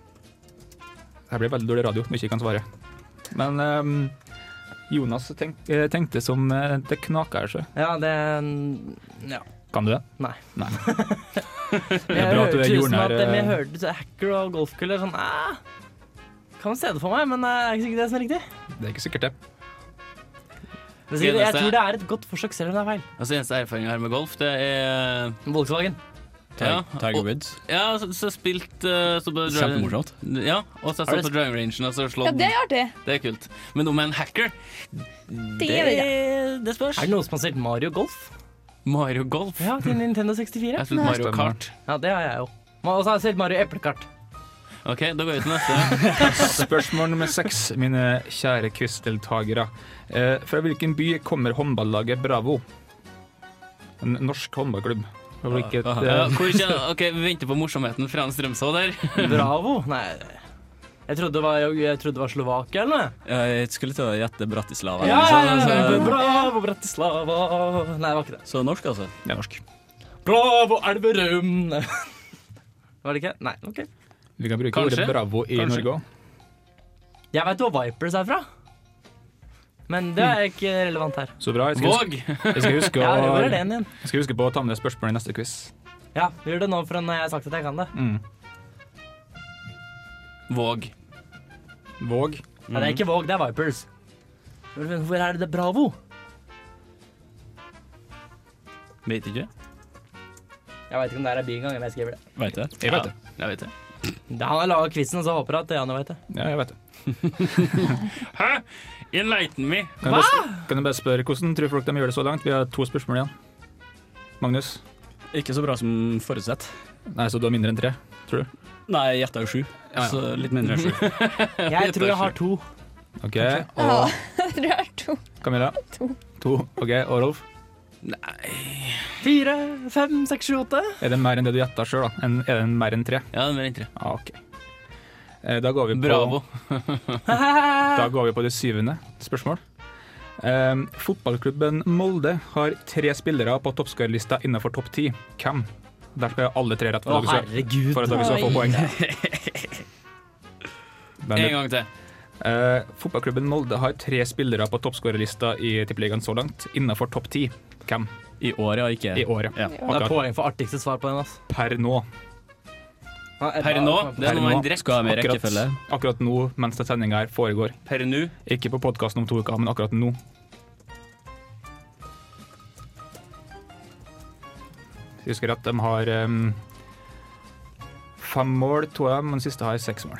S5: Det blir veldig dårlig radio når jeg ikke kan svare. Men ehm, Jonas tenk, eh, tenkte som eh, det knaker her, så.
S6: Ja, det
S5: Kan du det?
S6: Det
S5: er bra at du er jordnær,
S6: At, men jeg
S5: eh.
S6: hørte så hacker og golfkull er sånn eh, Kan se det for meg, men eh, er ikke sikkert det som er riktig.
S5: Det er ikke sikkert det.
S6: Det er sikkert, jeg tror det er et godt forsøk, selv om det er feil.
S4: Altså, eneste erfaringen jeg har med golf, det er
S6: Volkswagen.
S9: Tiger,
S4: Ja,
S9: Tiger
S4: og-
S9: Woods?
S4: Ja, så, så spilt eh, så på driving-
S9: Kjempemorsomt.
S4: Ja, og så
S6: Har
S4: stått på
S6: du
S4: driving rangen og så
S7: Ja,
S4: slått.
S7: det er artig.
S4: det er kult. Men om jeg er en hacker,
S7: Det er vi
S4: det spørs.
S6: Er Eh, det noen som har spilt Mario Golf?
S4: Mario Golf.
S6: Ja, til Nintendo
S4: Jeg
S6: 64.
S4: har spilt Mario
S5: Stemmer.
S4: Kart.
S6: Ja, det har jeg jo. Og så har jeg spilt Mario Eplekart.
S4: OK, da går vi til neste.
S5: Spørsmål nummer seks, mine kjære quizdeltagere. Eh, fra hvilken by kommer håndballaget Bravo? En norsk håndballklubb. Fra Hvilket,
S9: aha.
S4: Ja,
S5: eh,
S4: hvor kjenner, ok, Vi venter på morsomheten fra en Strømså der.
S6: Bravo. Nei, jeg trodde det var, jeg trodde det var Slovakia eller noe.
S9: Jeg skulle til å gjette Bratislava.
S6: Ja, ja, ja,
S9: liksom,
S6: ja.
S9: så-
S6: eh, Bravo, Bratislava. Nei, det var ikke det.
S9: Så norsk, altså.
S5: det er norsk.
S6: Bravo, Elverum. Var det ikke? Nei, ok.
S5: Vi kan bruke
S4: Kanskje.
S5: ordet Bravo i
S4: Kanskje.
S5: Norge òg.
S6: Jeg veit hvor Vipers er fra. Men det er ikke relevant her.
S5: Så bra. Jeg skal, huske,
S4: Våg!
S5: jeg, skal huske
S6: Ja, hvor
S5: å,
S6: er det igjen?
S5: jeg skal huske på å ta med det spørsmålet i neste quiz.
S6: Ja, vi gjør det nå for når jeg har sagt at jeg kan det.
S5: Mm.
S4: Våg.
S5: Våg.
S6: Nei, det er ikke Våg, det er Vipers. Men Hvor er det det Bravo?
S4: Vet ikke.
S6: Jeg veit ikke om det er by engang, men jeg skriver det.
S9: Veit jeg.
S5: Jeg vet det.
S4: Ja, jeg vet det.
S6: Det- Han har laga quizen, og så håper jeg at Janne veit det.
S5: Ja, jeg vet det.
S4: Hæ? Enlighten me!
S5: Kan jeg, bare, kan jeg bare spørre hvordan tror folk de gjør det så langt? Vi har to spørsmål igjen. Magnus?
S9: Ikke så bra som forutsett.
S5: Nei, så du har mindre enn tre?
S9: Nei, jeg gjetta jo sju,
S5: Ja, ja.
S9: så litt mindre enn sju.
S6: Jeg tror jeg har to.
S5: OK.
S7: Ja,
S5: Og
S7: jeg tror jeg har to.
S5: Camilla?
S7: To.
S5: To. OK. Og Rolf?
S6: Fire, fem, seks, sju, åtte.
S5: Er det mer enn det du gjetta sjøl, da? En, er det mer enn tre?
S4: Ja, det er mer enn tre.
S5: Ja, OK. Eh, Da går vi på,
S4: Bravo.
S5: Da går vi på det syvende spørsmål. Eh, fotballklubben Molde har tre spillere på toppskårerlista innenfor topp ti. Hvem? Der skal jeg ha alle tre rett
S6: Å,
S5: for, at dere, skal-
S6: herregud.
S5: for at dere skal få poeng. Men det-
S4: En gang til.
S5: Eh, fotballklubben Molde har tre spillere på toppskårerlista i Tippeligaen så langt, innenfor topp ti. Hvem
S9: I år, ja. Ikke
S5: i året?
S9: Ja.
S5: Akkurat
S6: Det er poeng for artigste svar på den. ass.
S5: per nå.
S4: Per nå, det er
S5: Per
S4: noe
S5: nå
S4: en direkte.
S9: Skal jeg med i
S5: Akkurat.
S9: rekkefølge?
S5: Akkurat nå, mens den sendinga her foregår.
S4: Per nå.
S5: Ikke på podkasten om to uker, men akkurat nå. Hvis jeg husker rett, de har em, fem mål, to av dem, men den siste har seks mål.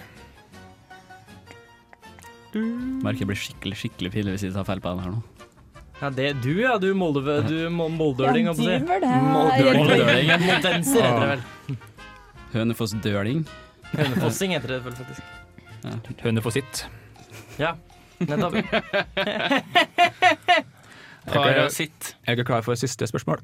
S9: Merker jeg blir skikkelig skikkelig pinlig hvis jeg tar feil på den her nå.
S6: Ja, det du, ja. Du Molde- du må- moldøling, holdt jeg på å si.
S7: var
S9: Moldøling.
S6: Moldenser heter det vel.
S9: Hønefoss Døling.
S6: Hønefossing heter det vel faktisk.
S5: Høne får sitt.
S6: Ja, nettopp.
S4: Para sitt.
S5: Jeg er klar for siste spørsmål.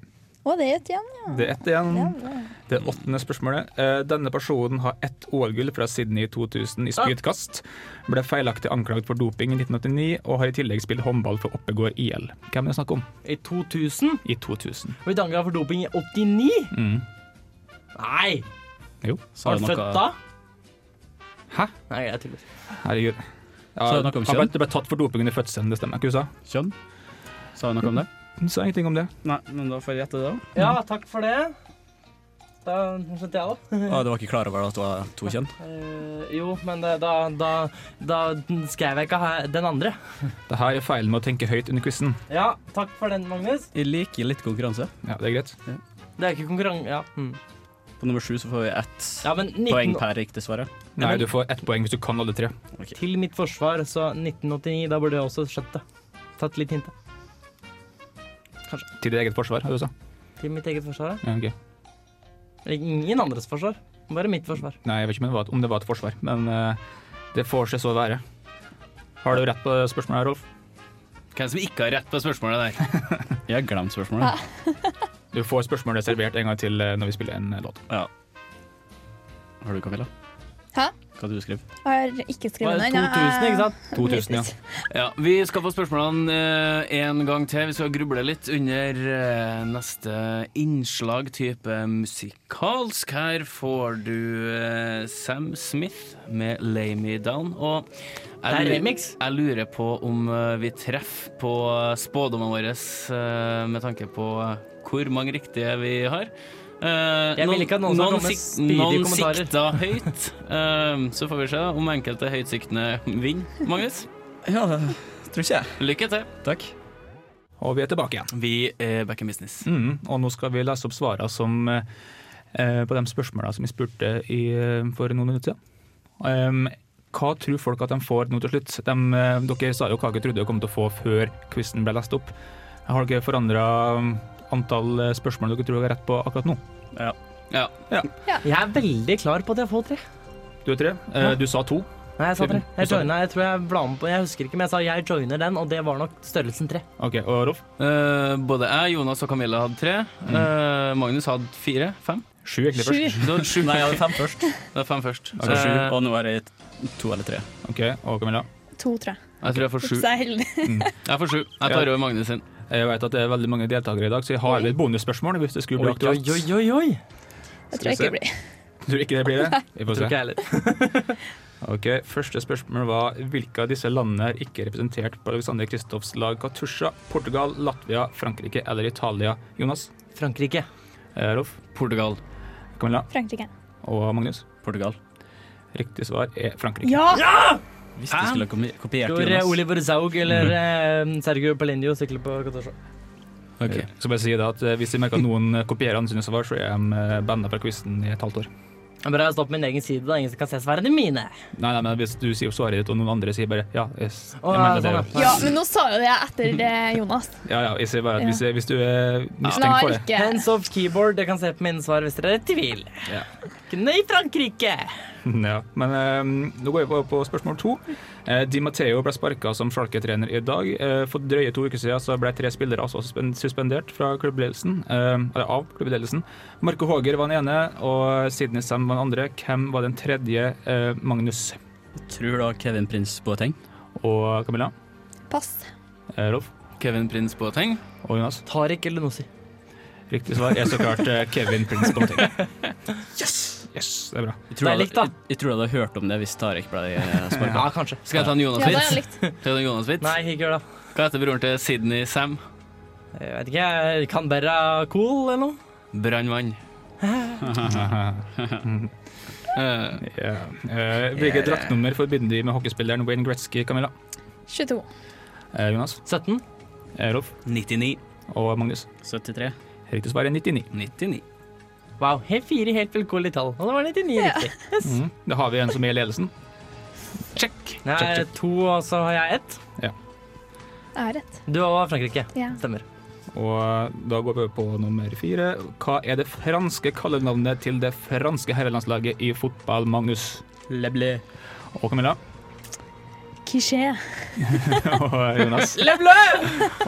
S7: Å, det er et igjen,
S5: Det er ett igjen.
S7: ja. bra.
S5: Det åttende spørsmålet. Eh, Denne personen har ett OL-gull fra Sydney i 2000 i spydkast. Ble feilaktig anklaget for doping i 1989, og har i tillegg spilt håndball for Oppegård IL. Hvem er det snakk om?
S6: I 2000
S5: I 2000.
S6: ble de anklaget for doping i 89.
S5: Mm.
S6: Nei!
S5: Jo.
S9: Sa
S6: Var
S9: du
S6: han født
S9: noe-
S6: da?
S5: Hæ?
S6: Nei, jeg tuller.
S5: Herregud. Ja,
S9: Sa du noe om
S5: han ble,
S9: kjønn?
S5: det ble tatt for doping under fødselen, det stemmer ikke, USA?
S9: Kjønn? Sa du noe om det?
S5: Hun sa ingenting om det.
S9: Nei, men da får jeg gjette det, da.
S6: Ja, takk for det. Da skjønte jeg det.
S9: Ah, du var ikke klar over at det var to kjønn?
S6: Eh, jo, men det, da, da, da skrev jeg ikke ha- den andre.
S5: Det her er feilen med å tenke høyt under quizen.
S6: Ja, takk for den, Magnus.
S9: Jeg liker litt konkurranse.
S5: Ja, det er greit.
S6: Det er ikke konkurranse... Ja. Mm.
S9: På nummer sju så får vi ett
S6: ja, men 19...
S9: poeng per riktig svar. ja.
S5: Nei, du får ett poeng hvis du kan alle tre.
S6: Til mitt forsvar, så 1989, da burde jeg også skjønt det. Tatt litt hintet.
S5: Til ditt eget forsvar, har du sa.
S6: Til mitt eget forsvar, ja.
S5: Ja, ok.
S6: Ingen andres forsvar. Bare mitt forsvar.
S5: Nei, jeg vet ikke om det var et, om det var et forsvar, men eh, det får seg så være. Har du rett på spørsmålet her, Rolf?
S4: Hvem som ikke har rett på spørsmålet der?
S9: Jeg har glemt spørsmålet.
S5: Du får spørsmålet servert en gang til eh, når vi spiller en eh, låt.
S9: Har du, Camilla?
S7: Hæ?
S9: Hva du skrev?
S7: Jeg har ikke skrevet
S6: Var det
S7: den. jeg-
S6: 2000, ikke sant?
S5: 2000, ja.
S4: Ja, Vi skal få spørsmålene eh, en gang til. Vi skal gruble litt under eh, neste innslag, type musikalsk. Her får du eh, Sam Smith med 'Lay Me Down'. Og jeg,
S6: Det er
S4: lurer-
S6: remix.
S4: jeg lurer på om eh, vi treffer på spådommene våre eh, med tanke på hvor mange riktige vi har. Eh,
S6: Jeg vil ikke at noen skal komme med
S4: sik-
S6: spydige
S4: noen
S6: kommentarer.
S4: sikta høyt. Eh, så får vi se om enkelte høytsiktende vinner, Magnus.
S9: Ja, tror ikke jeg.
S4: Lykke til.
S9: Takk.
S5: Og vi er tilbake igjen.
S4: Vi er back in business.
S5: Mm, og nå skal vi lese opp svarene som, eh, eh, på de spørsmålene som vi spurte i, eh, for noen minutter siden. Em, hva tror folk at de får nå til slutt? De, eh, dere sa jo hva dere trodde dere kom til å få før quizen ble lest opp. Har dere forandra antall eh, spørsmål dere tror dere har rett på akkurat nå?
S6: Jeg er veldig klar på at jeg får tre.
S5: Du er tre. Eh, du sa to.
S6: Nei, jeg sa tre.
S5: Du
S6: Jeg,
S5: sa tre.
S6: joina, jeg tror jeg bla med på Jeg husker ikke, men jeg sa jeg joiner den, og det var nok størrelsen tre.
S5: Ok, Og Rolf?
S4: Eh, både jeg, Jonas og Camilla hadde tre.
S9: Mm.
S4: Eh, Magnus hadde fire. Fem?
S5: Sju, egentlig først.
S4: Du hadde sju.
S9: Nei, jeg hadde fem først.
S4: Det er fem først.
S9: Så sju,
S4: Eh,
S9: og nå er jeg to eller tre.
S5: Ok, og Camilla?
S7: To, tror jeg.
S4: jeg tror jeg får sju.
S7: Ups, jeg er heldig.
S4: Jeg får sju. Jeg tar over Magnus sin.
S5: Jeg vet at det er veldig mange deltakere i dag, så jeg har et bonusspørsmål hvis det skulle bli aktuelt.
S6: oi, oi.
S7: Jeg tror jeg ikke blir.
S5: Tror du ikke det blir det? Vi får
S6: Tror
S5: se.
S6: ikke jeg heller.
S5: Ok, Første spørsmål var hvilke av disse landene er ikke representert på Alexander Kristoffs lag Katusha? Portugal, Latvia, Frankrike eller Italia? Jonas,
S6: Frankrike.
S5: eh, Rolf,
S4: Portugal.
S5: Camilla
S7: Frankrike.
S5: og Magnus.
S9: Portugal.
S5: Riktig svar er Frankrike.
S7: Ja!
S9: Hvis du skulle ha komi- kopiert
S6: Tror eh,
S9: Jonas.
S6: Oliver Zaug eller
S5: Mhm.
S6: eh, Sergio Palendio sykler på Katasha.
S9: Ok.
S5: Eh, Skal bare si da at eh, Hvis jeg merker at noen eh, kopierer andre sine svar, så er de banda fra quizen i et halvt år.
S6: Jeg bør stå på min egen side, da. Ingen som kan se svarene mine.
S5: Nei, nei, men Hvis du sier svaret ditt, og noen andre sier bare ja, jeg, s- jeg
S6: Å,
S5: mener det
S6: sånn,
S5: jo.
S7: Ja, men nå sa jo det jeg etter eh, Jonas.
S5: Ja, ja, jeg sier bare at hvis, jeg- hvis du er
S7: Men jeg
S5: mistenkt for
S7: har
S5: det
S7: ikke
S6: Hands off keyboard. Dere kan se på mine svar hvis dere er i tvil.
S5: Ja.
S6: Nei, Frankrike!
S5: Ja, men eh, nå går vi på, på spørsmål to. Eh, Di Matteo ble sparka som Schalke-trener i dag. Eh, for drøye to uker siden så ble tre spillere altså suspen- suspendert fra klubbledelsen, eh, eller av klubbledelsen. Marco Håger var den ene, og Sidney Sam var den andre. Hvem var den tredje? Eh, Magnus
S9: Tror da Kevin Prince Boateng.
S5: og Camilla.
S7: pass.
S5: Eh, Rolf
S4: Kevin Prince Boateng.
S5: og Jonas.
S6: Tariq eller Nossi.
S5: Riktig svar er så klart eh, Kevin Prince Boateng. Yes! yes! Det er bra.
S9: Jeg
S6: Det
S9: tror
S6: er likt, da.
S9: jeg, jeg tror jeg hadde hørt om det hvis Tarek ble eh, sparka.
S6: Ja, kanskje.
S4: Skal jeg ta en
S7: Ja, da er
S4: Jonas-vits?
S7: det likt.
S4: Skal jeg ta en Jonas-vits?
S6: Nei, ikke gjør det.
S4: Hva heter broren til Sydney Sam?
S6: Jeg vet ikke. Canberra Cool eller noe?
S4: Brannmann.
S9: Eh,
S5: Ja. Eh, Hvilket draktnummer forbinder de med hockeyspilleren Wayne Gretzky, Camilla?
S7: 22.
S5: Eh, Jonas,
S6: 17.
S5: eh, Rolf
S4: 99.
S5: og Magnus.
S9: 73.
S5: Riktig svar er 99.
S4: 99.
S6: Wow. Helt fire helt vilkårlige tall. Og det var 99 riktig.
S5: Mm. Da har vi en som er i ledelsen.
S6: Det
S5: Check,
S6: er
S5: check.
S6: to, og så har jeg ett.
S7: Jeg har rett.
S6: Du var Frankrike.
S7: Ja.
S6: Stemmer.
S5: Og da går vi på nummer fire. Hva er det franske kallenavnet til det franske herrelandslaget i fotball, Magnus?
S6: Le bleu.
S5: Og Camilla.
S7: Klisjé.
S5: Og Jonas.
S6: Le bleu!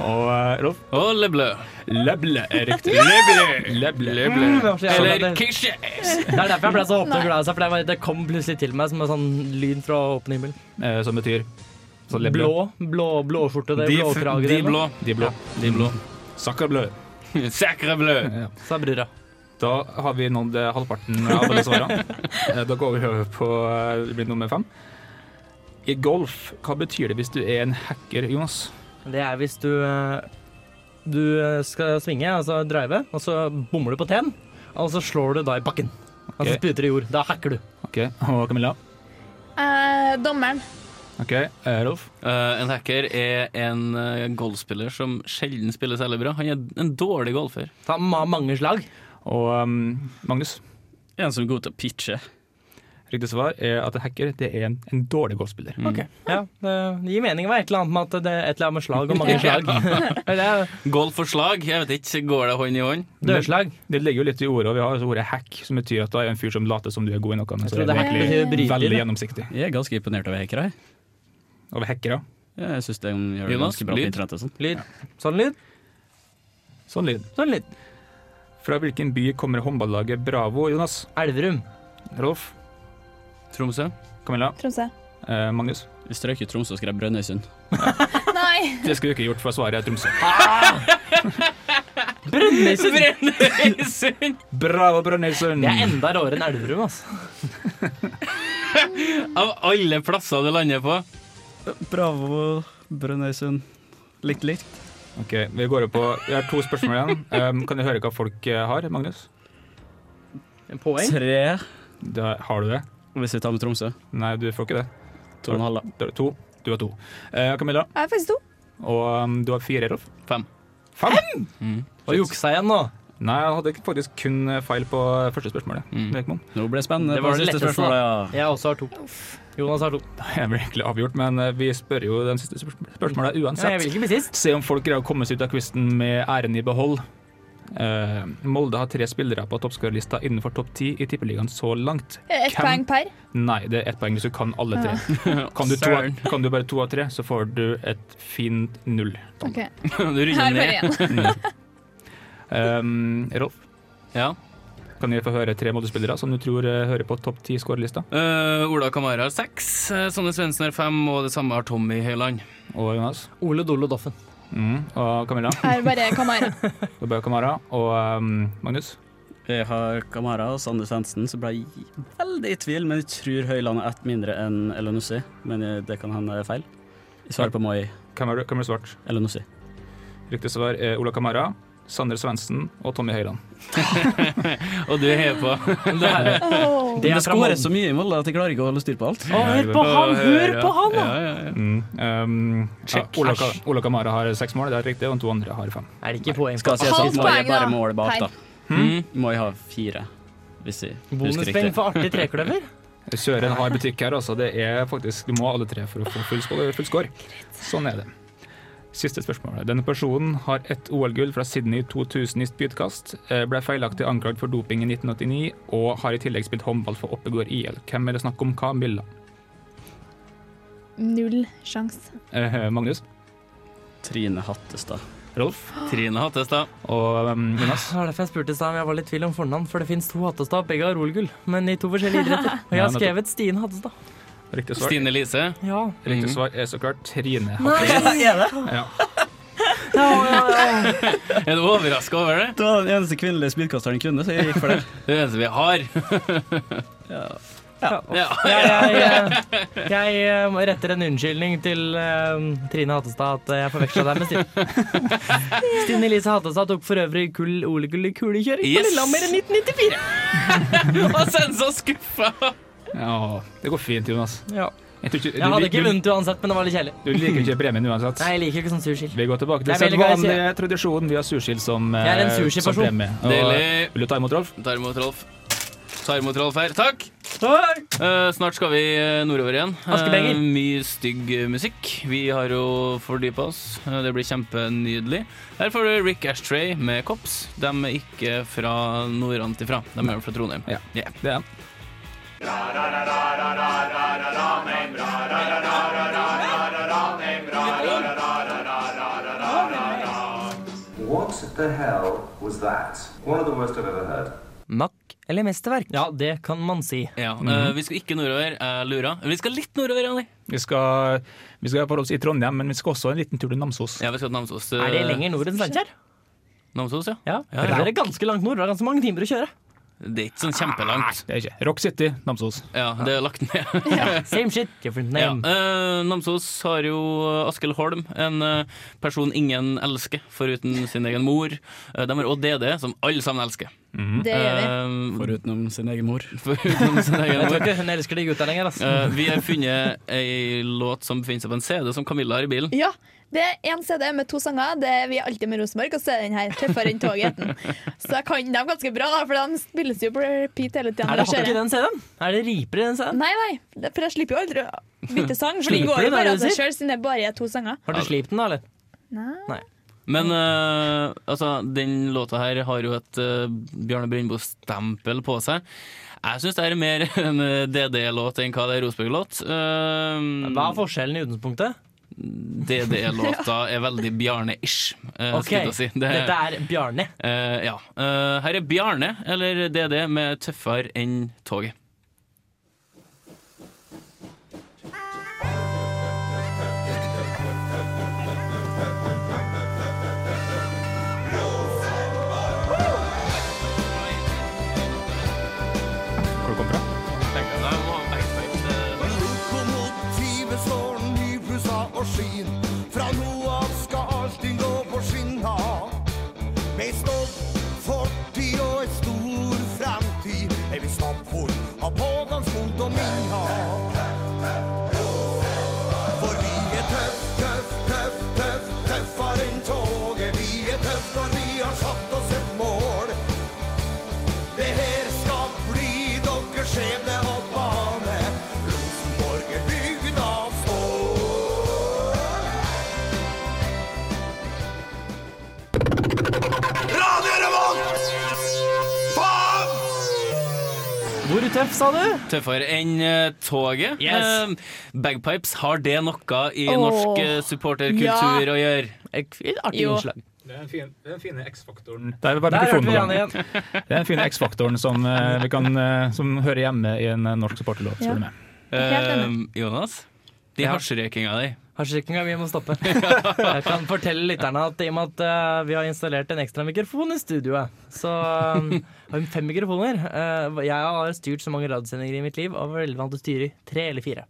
S5: Og eh, Rolf.
S9: Og Le Bleu.
S5: Leble er riktig. Leble. Leble.
S6: Det var så jævla-
S5: Eller
S6: det
S5: Kishe.
S6: det er derfor jeg ble så åpen og glad i seg, for det, var, det kom plutselig til meg som en sånn lyd fra åpen himmel.
S5: Eh, Som betyr så le bleu.
S6: Blå, blå, blåskjorte, det
S4: De, f-
S6: blåkrage,
S4: de
S6: det,
S4: blå.
S5: De blå.
S4: De blå.
S5: Sacre bleu.
S9: Mm.
S4: Sækre blø.
S5: Ja.
S6: sa brura.
S5: Da har vi nådd eh, halvparten av alle svarene. Eh, Da går vi over på eh, det blir nummer fem. I golf, hva betyr det hvis du er en hacker, Jonas?
S6: Det er hvis du eh, Du eh, skal svinge, altså drive, og så bommer du på teen, og så slår du da i bakken. Og så
S5: Ok.
S6: spyter du i jord. Da hacker du.
S5: Ok, Og Camilla?
S7: Eh, dommeren.
S5: Ok, eh, Rolf?
S4: Eh, en hacker er en eh, golfspiller som sjelden spiller særlig bra. Han er en dårlig golfer.
S6: Ta ma mange slag.
S5: Og um, Magnus?
S9: En som er god til å pitche.
S5: Riktig svar er at en hacker det er en, en dårlig golfspiller.
S4: Mm.
S6: Ja, det det gir mening å være et eller annet med at det er et eller annet med slag og mange slag. Eller det er
S4: Golf og slag, jeg vet ikke, går det hånd i hånd?
S6: dørslag.
S5: Det ligger jo litt i ordet, og vi har altså ordet hack, som betyr at du er en fyr som later som du er god i noe, men
S6: Jeg
S5: så
S6: tror
S5: er du
S6: det hacker
S5: egentlig
S6: betyr
S5: veldig
S6: bryter.
S5: gjennomsiktig.
S9: Jeg er ganske imponert over hackere. jeg.
S5: Over hackere.
S9: Jeg syns de gjør det
S4: Jonas,
S9: ganske bra på
S4: lyd?
S9: internett og sånn.
S6: Lyd. Sånn lyd.
S5: Sånn lyd.
S6: Sånn lyd.
S5: Fra hvilken by kommer håndballaget Bravo, Jonas?
S6: Elverum.
S5: Rolf?
S4: Tromsø?
S5: Camilla?
S7: Tromsø.
S5: Eh, Magnus?
S9: Vi strøk jo Tromsø og skrev Brønnøysund.
S7: Nei!
S5: Det skulle du ikke gjort, for svaret er Tromsø.
S6: Brønnøysund.
S4: Brønnøysund!
S5: Bravo, Brønnøysund!
S6: Det er enda råere enn Elverum, altså.
S4: Av alle plasser du lander på.
S9: Bravo, Brønnøysund. Likt likt.
S5: Ok, vi går over på Jeg har to spørsmål igjen. Um, kan jeg høre hva folk eh, har, Magnus?
S6: Poeng.
S9: Tre,
S5: Da har du det?
S9: hvis vi tar med Tromsø.
S5: Nei, du får ikke det.
S9: To og en halv, da.
S5: Da er det to. Du har to. Eh, Camilla?
S7: Jeg er faktisk to.
S5: Og um, du har fire, Rolf?
S4: Fem.
S5: Fem?
S4: Mm.
S6: Og juksa igjen nå.
S5: Nei, jeg hadde faktisk kun feil på første spørsmålet.
S4: Mm.
S5: Det gikk meg om.
S9: Nå ble det spennende
S6: Det
S9: på
S6: var det
S9: siste
S6: letteste,
S9: spørsmålet. Ja.
S6: Jeg også har to. Jonas har to.
S5: Da er vi egentlig avgjort, men eh, vi spør jo den siste spørsm- spørsmålet
S6: Ja, jeg
S5: uansett.
S6: vil ikke bli sist.
S5: Se om folk greier å komme seg ut av quizen med æren i behold. Eh, Molde har tre spillere på toppskårerlista innenfor topp ti i Tippeligaen så langt.
S7: Ett
S5: Hvem?
S7: poeng per.
S5: Nei, det er ett poeng hvis du kan alle tre. Kan du, to,
S4: Søren.
S5: kan du bare to av tre, så får du et fint null.
S7: Ok,
S4: Du runder
S7: Her får
S4: ned.
S7: jeg igjen.
S5: Um, Rolf,
S4: Ja.
S5: kan jeg få høre tre Molde-spillere som du tror eh, hører på topp ti-skårerlista?
S4: Eh, Ola Kamara har seks, eh, Sonne Svendsen har fem, og det samme har Tommy Høiland.
S5: Og Jonas?
S6: Ole Dolo Doffen.
S5: Mm. Og Camilla?
S7: Jeg er bare Kamara.
S5: Det ble Kamara og um, Magnus.
S9: Jeg har Kamara og Sander Svendsen, så ble jeg veldig i tvil, men jeg tror Høyland er ett mindre enn Elonussi. Men jeg, det kan hende det er feil. Jeg svarer på Moi
S5: Hvem er du? Hvem er du svart?
S9: Elonussi.
S5: Riktig svar er Ola Kamara, Sander Svendsen og Tommy Høiland.
S4: Og du heier på.
S6: Det er,
S7: Åh.
S9: Det
S6: det er fra Molde.
S9: skåres så mye i Molde at jeg klarer ikke å holde styr på alt.
S6: Å, hør på han! Hør på han, da!
S4: Ja, ja, ja.
S5: Mm. Um, ja, Ola, Ka- Ola Kamara har seks mål, det er riktig, og de to andre har fem.
S6: Er det ikke poeng?
S9: Skal si det sånn,
S7: Halvt
S9: Moi er
S7: poeng,
S9: bare
S7: da.
S9: mål bak,
S7: Feil.
S9: da.
S4: Hmm?
S9: Moi har fire, hvis jeg husker
S6: Bonuspoeng
S9: riktig.
S6: for artig trekløver?
S5: Søren har butikk her, altså. Det er faktisk, du må ha alle tre for å få full, score- full score. Sånn er det. Siste spørsmål. Denne personen har ett OL-gull fra Sydney 2000 i spydkast, eh, ble feilaktig anklagd for doping i 1989 og har i tillegg spilt håndball for Oppegård IL. Hvem er det snakk om? Camilla?
S7: Null sjans.
S5: Eh, Magnus?
S9: Trine Hattestad.
S5: Rolf?
S4: Trine Hattestad.
S5: Og um, Jonas?
S6: Det var derfor jeg spurte i stad om jeg var litt i tvil om fornavn, for det fins to Hattestad, begge har OL-gull, men i to forskjellige idretter. Og jeg har
S5: Ja, nettopp.
S6: skrevet Stine Hattestad.
S5: Riktig svar.
S4: Stine Lise.
S6: Ja.
S5: Riktig
S4: Mhm.
S5: svar er så klart Trine.
S6: er det?
S5: Ja.
S6: Ja, ja, ja.
S4: Er du overraska over det?
S9: Det var den eneste kvinnelige spydkasteren jeg kunne, så jeg gikk for det.
S4: Det er det eneste vi har. Ja.
S6: Jeg, jeg, jeg, eh, retter en unnskyldning til eh, Trine Hattestad at jeg forveksla deg med Stine. Stine Elise Hattestad tok for øvrig kull olekull i kulekjøring
S4: Yes.
S6: på Lillehammer i 1994.
S4: Og Sensa skuffa!
S5: Ja, det går fint, Jonas.
S6: Ja.
S5: Jeg, tror ikke,
S6: Jeg hadde ikke
S5: du,
S6: vunnet uansett, men det var litt kjedelig.
S5: du, du liker ikke premien uansett.
S6: Nei, jeg liker ikke sånn surskill.
S5: Vi går tilbake til
S6: Jeg er veldig glad i
S5: sedvanlig tradisjon. Vi har surskill som, eh,
S6: Jeg er en
S5: som
S6: sushiperson.
S5: premie. Og-
S4: Deilig.
S5: Vil du ta imot Rolf?
S4: Tar imot Rolf. Tar imot Rolf her. Takk! Eh, snart skal vi eh, nordover igjen. Eh,
S6: Askebeger.
S4: mye stygg eh, musikk. Vi har jo fordypa oss. Eh, det blir kjempenydelig. Her får du Rick Ashtray med Kops. De er ikke fra nordantifra. De er jo fra Trondheim.
S5: Ja.
S4: Yeah.
S5: Det er han.
S10: What the hell was that? One of the worst I've ever heard.
S6: Makk eller mesterverk? Ja, det kan man si.
S4: Ja, eh, vi skal ikke nordover. Jeg lurer. Vi skal litt nordover, Anni.
S5: Vi skal, vi skal forholde oss i Trondheim, men vi skal også en liten tur til Namsos.
S4: Ja, vi skal til Namsos. Eh,
S6: Er det lenger nord enn Steinkjer?
S4: Namsos, ja.
S6: Eh, Ja.
S4: Ja,
S6: Det er ganske langt nord. Det er ganske mange timer å kjøre.
S4: Det er ikke sånn kjempelangt.
S5: Det er ikke. Rock City, Namsos.
S6: Ah,
S4: Ja, det er lagt ned.
S6: Same shit, different
S4: Ja,
S6: name.
S4: eh, Namsos har jo Askild Holm, en eh, person ingen elsker foruten sin egen mor. Eh, de har òg DD, som alle sammen elsker.
S6: Mm.
S7: Det gjør vi.
S4: Eh,
S9: Forutenom sin egen mor.
S4: foruten sin egen
S6: Jeg
S4: mor.
S6: tror ikke hun elsker de gutta lenger. ass.
S4: Eh, vi har funnet ei låt som befinner seg på en CD som Camilla har i bilen.
S7: Ja, det er en CD med to sanger. Det er Vi er alltid med Rosenborg, og så er den her tøffere enn toget. heter den. Så jeg kan dem ganske bra, da, for de spilles jo på repeat hele tida.
S6: Er det hakk i den CD-en? Er det riper i den CD-en?
S7: Nei, nei, det- for jeg slipper jo aldri å bytte sang. For det
S6: Slipper
S7: går jo
S6: du det,
S7: bare
S6: er
S7: av
S6: det du
S7: seg
S6: sier?
S7: sjøl, siden det bare er to sanger.
S6: Har du slipt den, da? eller?
S7: Nei.
S4: Men eh, altså, den låta her har jo et eh, Bjarne Brøndbo-stempel på seg. Jeg syns det her er mer en eh, DD-låt enn hva det er Rosenborg-låt. Eh,
S6: Hva er forskjellen i utgangspunktet?
S4: Ehm, DDE-låta er veldig Bjarne-ish, eh,
S6: Ok,
S4: skulle jeg si. Det,
S6: Dette er Bjarne.
S4: eh, ja. Eh, her er Bjarne, eller DD, med tøffere enn toget.
S5: Hvor kom fra?
S2: Lokomotivet slår nypussa og skinn. Fra nå av skal allting gå på skinna. Med stopp, fortid og en stor framtid. Jeg vil stappfull av pågangsmot og minna. For vi er tøff, tøff, tøff, tøff, tøffere enn toget. Vi er tøff når vi har satt oss et mål. Det her skal bli deres skjebne og bane. Rosenborg er bygd av stål. Radio Revolt! Faen!
S6: Hvor tøff, sa du?
S4: Tøffere enn eh, toget.
S6: Yes.
S4: Eh, bagpipes, har det noe i
S7: Åh.
S4: norsk eh, supporterkultur å gjøre?
S6: Et et artig
S7: Jo.
S6: innslag.
S5: Det er den fine X-faktoren. Det er bare
S6: Der hørte vi
S5: mikrofonen på
S6: Janne
S5: gang.
S6: igjen.
S5: Det er den fine X-faktoren som, eh, vi kan, eh, som hører hjemme i en eh, norsk supporterlåt. spør du
S7: Ja.
S5: meg.
S7: Helt enig.
S4: Eh, Jonas, de
S6: Ja.
S4: hasjrøykinga di.
S6: Hasjrøykinga vi må stoppe. Jeg kan fortelle lytterne at i og med at eh, vi har installert en ekstra mikrofon i studioet, så eh, har vi fem mikrofoner. Eh, jeg har styrt så mange radiosendinger i mitt liv, og var relevant å styre i tre eller fire.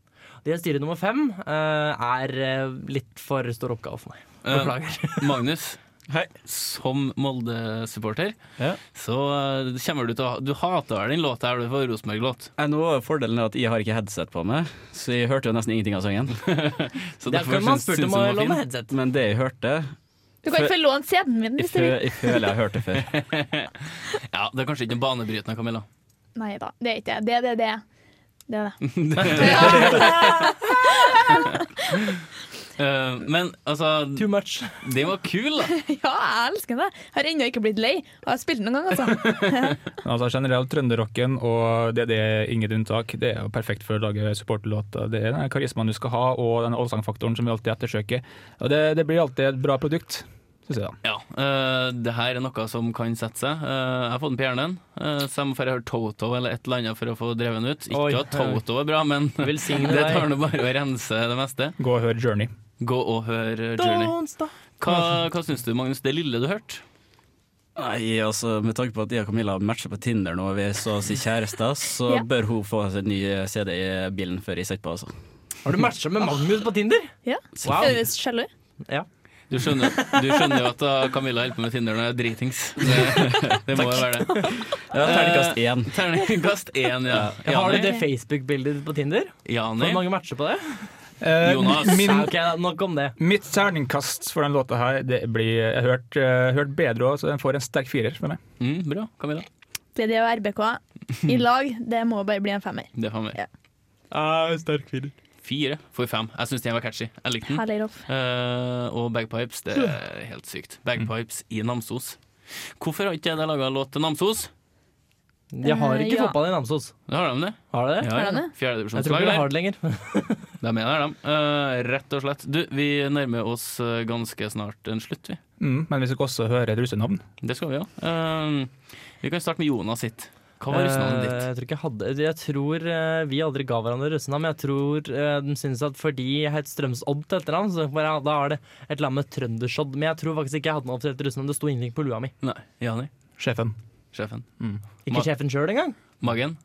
S6: Det å styre nummer fem eh, er eh, litt for stor oppgave for meg.
S4: Eh,
S6: Beklager.
S4: Magnus. Som Molde-supporter
S5: Ja.
S4: så eh, kommer du til å Du hater vel den låta her du får Rosenborg-låt.
S9: Jeg Eh, nå Fordelen er at jeg har ikke headset på meg, så jeg hørte jo nesten ingenting av sangen.
S4: Så
S6: Det er
S4: derfor
S6: ikke om man
S4: syns-
S6: spurte
S4: syns
S6: om å
S4: den var fin.
S6: låne headset.
S9: Men det jeg hørte
S7: Du kan
S9: Fø-
S7: ikke få lånt CD-en min
S9: Jeg,
S7: hvis
S9: fø
S7: du vil.
S9: jeg føler jeg har hørt det før.
S4: Ja, Det er kanskje ikke banebrytende, Camilla.
S7: Nei da, det er ikke det. Det er det. Det er det. Er det.
S4: Eh, men altså,
S6: Too much.
S4: den var kul, da.
S7: Ja, jeg elsker det. Har ennå ikke blitt lei. Og jeg har spilt den noen gang, altså.
S5: Altså Generelt trønderrocken og det, det er inget unntak. Det er jo perfekt for å lage supporterlåter. Det er den karismaen du skal ha, og den allsangfaktoren som vi alltid ettersøker. Og det, det blir alltid et bra produkt, syns jeg. da.
S4: Ja, eh, det her er noe som kan sette seg. Eh, jeg har fått den på hjernen, eh, så jeg må dra høre Toto eller et eller annet for å få drevet den ut.
S6: Oi.
S4: Ikke at Toto er bra, men det
S6: Velsigne
S4: tar
S6: deg.
S4: nå bare å rense det meste.
S5: Gå og hør Journey.
S4: Gå og hør eh, Journey.
S6: Don't stop.
S4: Hva, hva syns du, Magnus? Det lille du hørte?
S9: Nei, altså Med tanke på at jeg og Camilla matcher på Tinder nå, og vi er så å si kjærester, så
S7: Ja.
S9: bør hun få seg en ny CD i bilen før jeg setter på. altså
S6: Har du matcha med Magnus på Tinder?
S7: Ja.
S6: Wow.
S7: Er du sjalu?
S4: Du skjønner, du skjønner jo at da Camilla holder på med Tinder når jeg er dritings. Det, det må jo være det. Eh,
S9: Ja, Terningkast én.
S4: Terningkast én, ja.
S6: Har du
S4: Jani?
S6: det Facebook-bildet ditt på Tinder? Hvor
S4: Jani?
S6: mange matcher på det?
S5: Eh,
S4: Jonas.
S5: Min,
S6: Ja, ok, Nok om det.
S5: mitt terningkast for den låta her, det blir Jeg har hørt, eh, hørt bedre òg, så den får en sterk firer fra meg.
S4: Mm, bra, Camilla.
S7: Det og RBK i lag, det må bare bli en femmer.
S4: Det får vi.
S7: Ja.
S5: sterk firer.
S4: Fire for fem. Jeg syns den var catchy. Jeg likte den.
S7: Herlig, Rolf.
S4: Eh, og Bagpipes, det er helt sykt. Bagpipes i Namsos. Hvorfor har ikke jeg laga låt til Namsos?
S6: Jeg har ikke
S7: ja.
S6: fotball i Namsos.
S4: Har de det?
S6: Har du det?
S4: Ja,
S7: Har de det?
S6: Jeg tror
S4: Fjerdedivisjonslag
S6: ikke
S4: der.
S6: vi har det lenger.
S4: De er der, de. Eh, rett og slett. Du, vi nærmer oss eh, ganske snart en slutt, vi.
S5: Mm, men vi skal også høre et russenavn.
S4: Det skal vi òg. vi kan starte med Jonas sitt. Hva var russenavnet
S6: Eh,
S4: ditt?
S6: Jeg tror, ikke jeg hadde, jeg tror eh, vi aldri ga hverandre russenavn, men jeg tror eh, de syns at fordi jeg het Strømsodd til etternavn, så bare, ja, da er det et eller annet med Trøndersodd. Men jeg tror faktisk ikke jeg hadde noe offisielt russenavn. Det sto ingenting på lua mi.
S4: Nei, Jani.
S5: Sjefen.
S4: Sjefen. Ma-
S6: Ikke sjefen sjøl engang.
S4: Magen.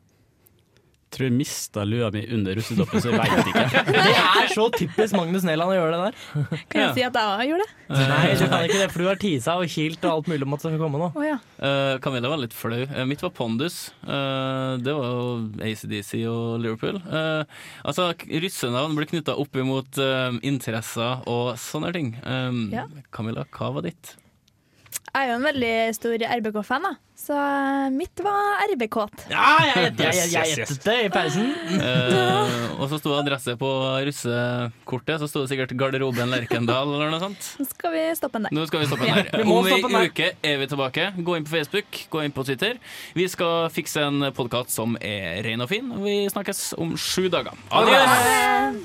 S9: Tror jeg mista lua mi under russedoppen, så jeg veit ikke.
S6: Det er så typisk Magnus Næland å gjøre det der.
S7: Kan jeg si at jeg òg gjorde det?
S6: Nei, du kan ikke det, for du har tisa og kilt og alt mulig om at det skal komme nå.
S7: Å ja.
S4: Eh, Camilla var litt flau. Eh, mitt var Pondus. Eh, det var jo ACDC og Liverpool. Eh, altså, k- Russenavn blir knytta opp imot eh, interesser og sånne ting. Eh,
S7: Ja.
S4: Camilla, hva var ditt?
S7: Jeg er jo en veldig stor RBK-fan, da. Så mitt var RBK-t.
S6: Ja, jeg gjettet jeg- jeg gjettet det i pausen.
S4: Eh, og så sto adresse på russekortet, så sto det sikkert Garderoben Lerkendal eller noe sånt.
S7: Nå skal vi stoppe den der.
S4: Nå skal vi stoppe den her.
S6: vi må
S4: Om
S6: stoppe den
S4: ei
S6: her.
S4: uke er vi tilbake. Gå inn på Facebook, gå inn på Twitter. Vi skal fikse en podkast som er ren og fin. Vi snakkes om sju dager. Adjø!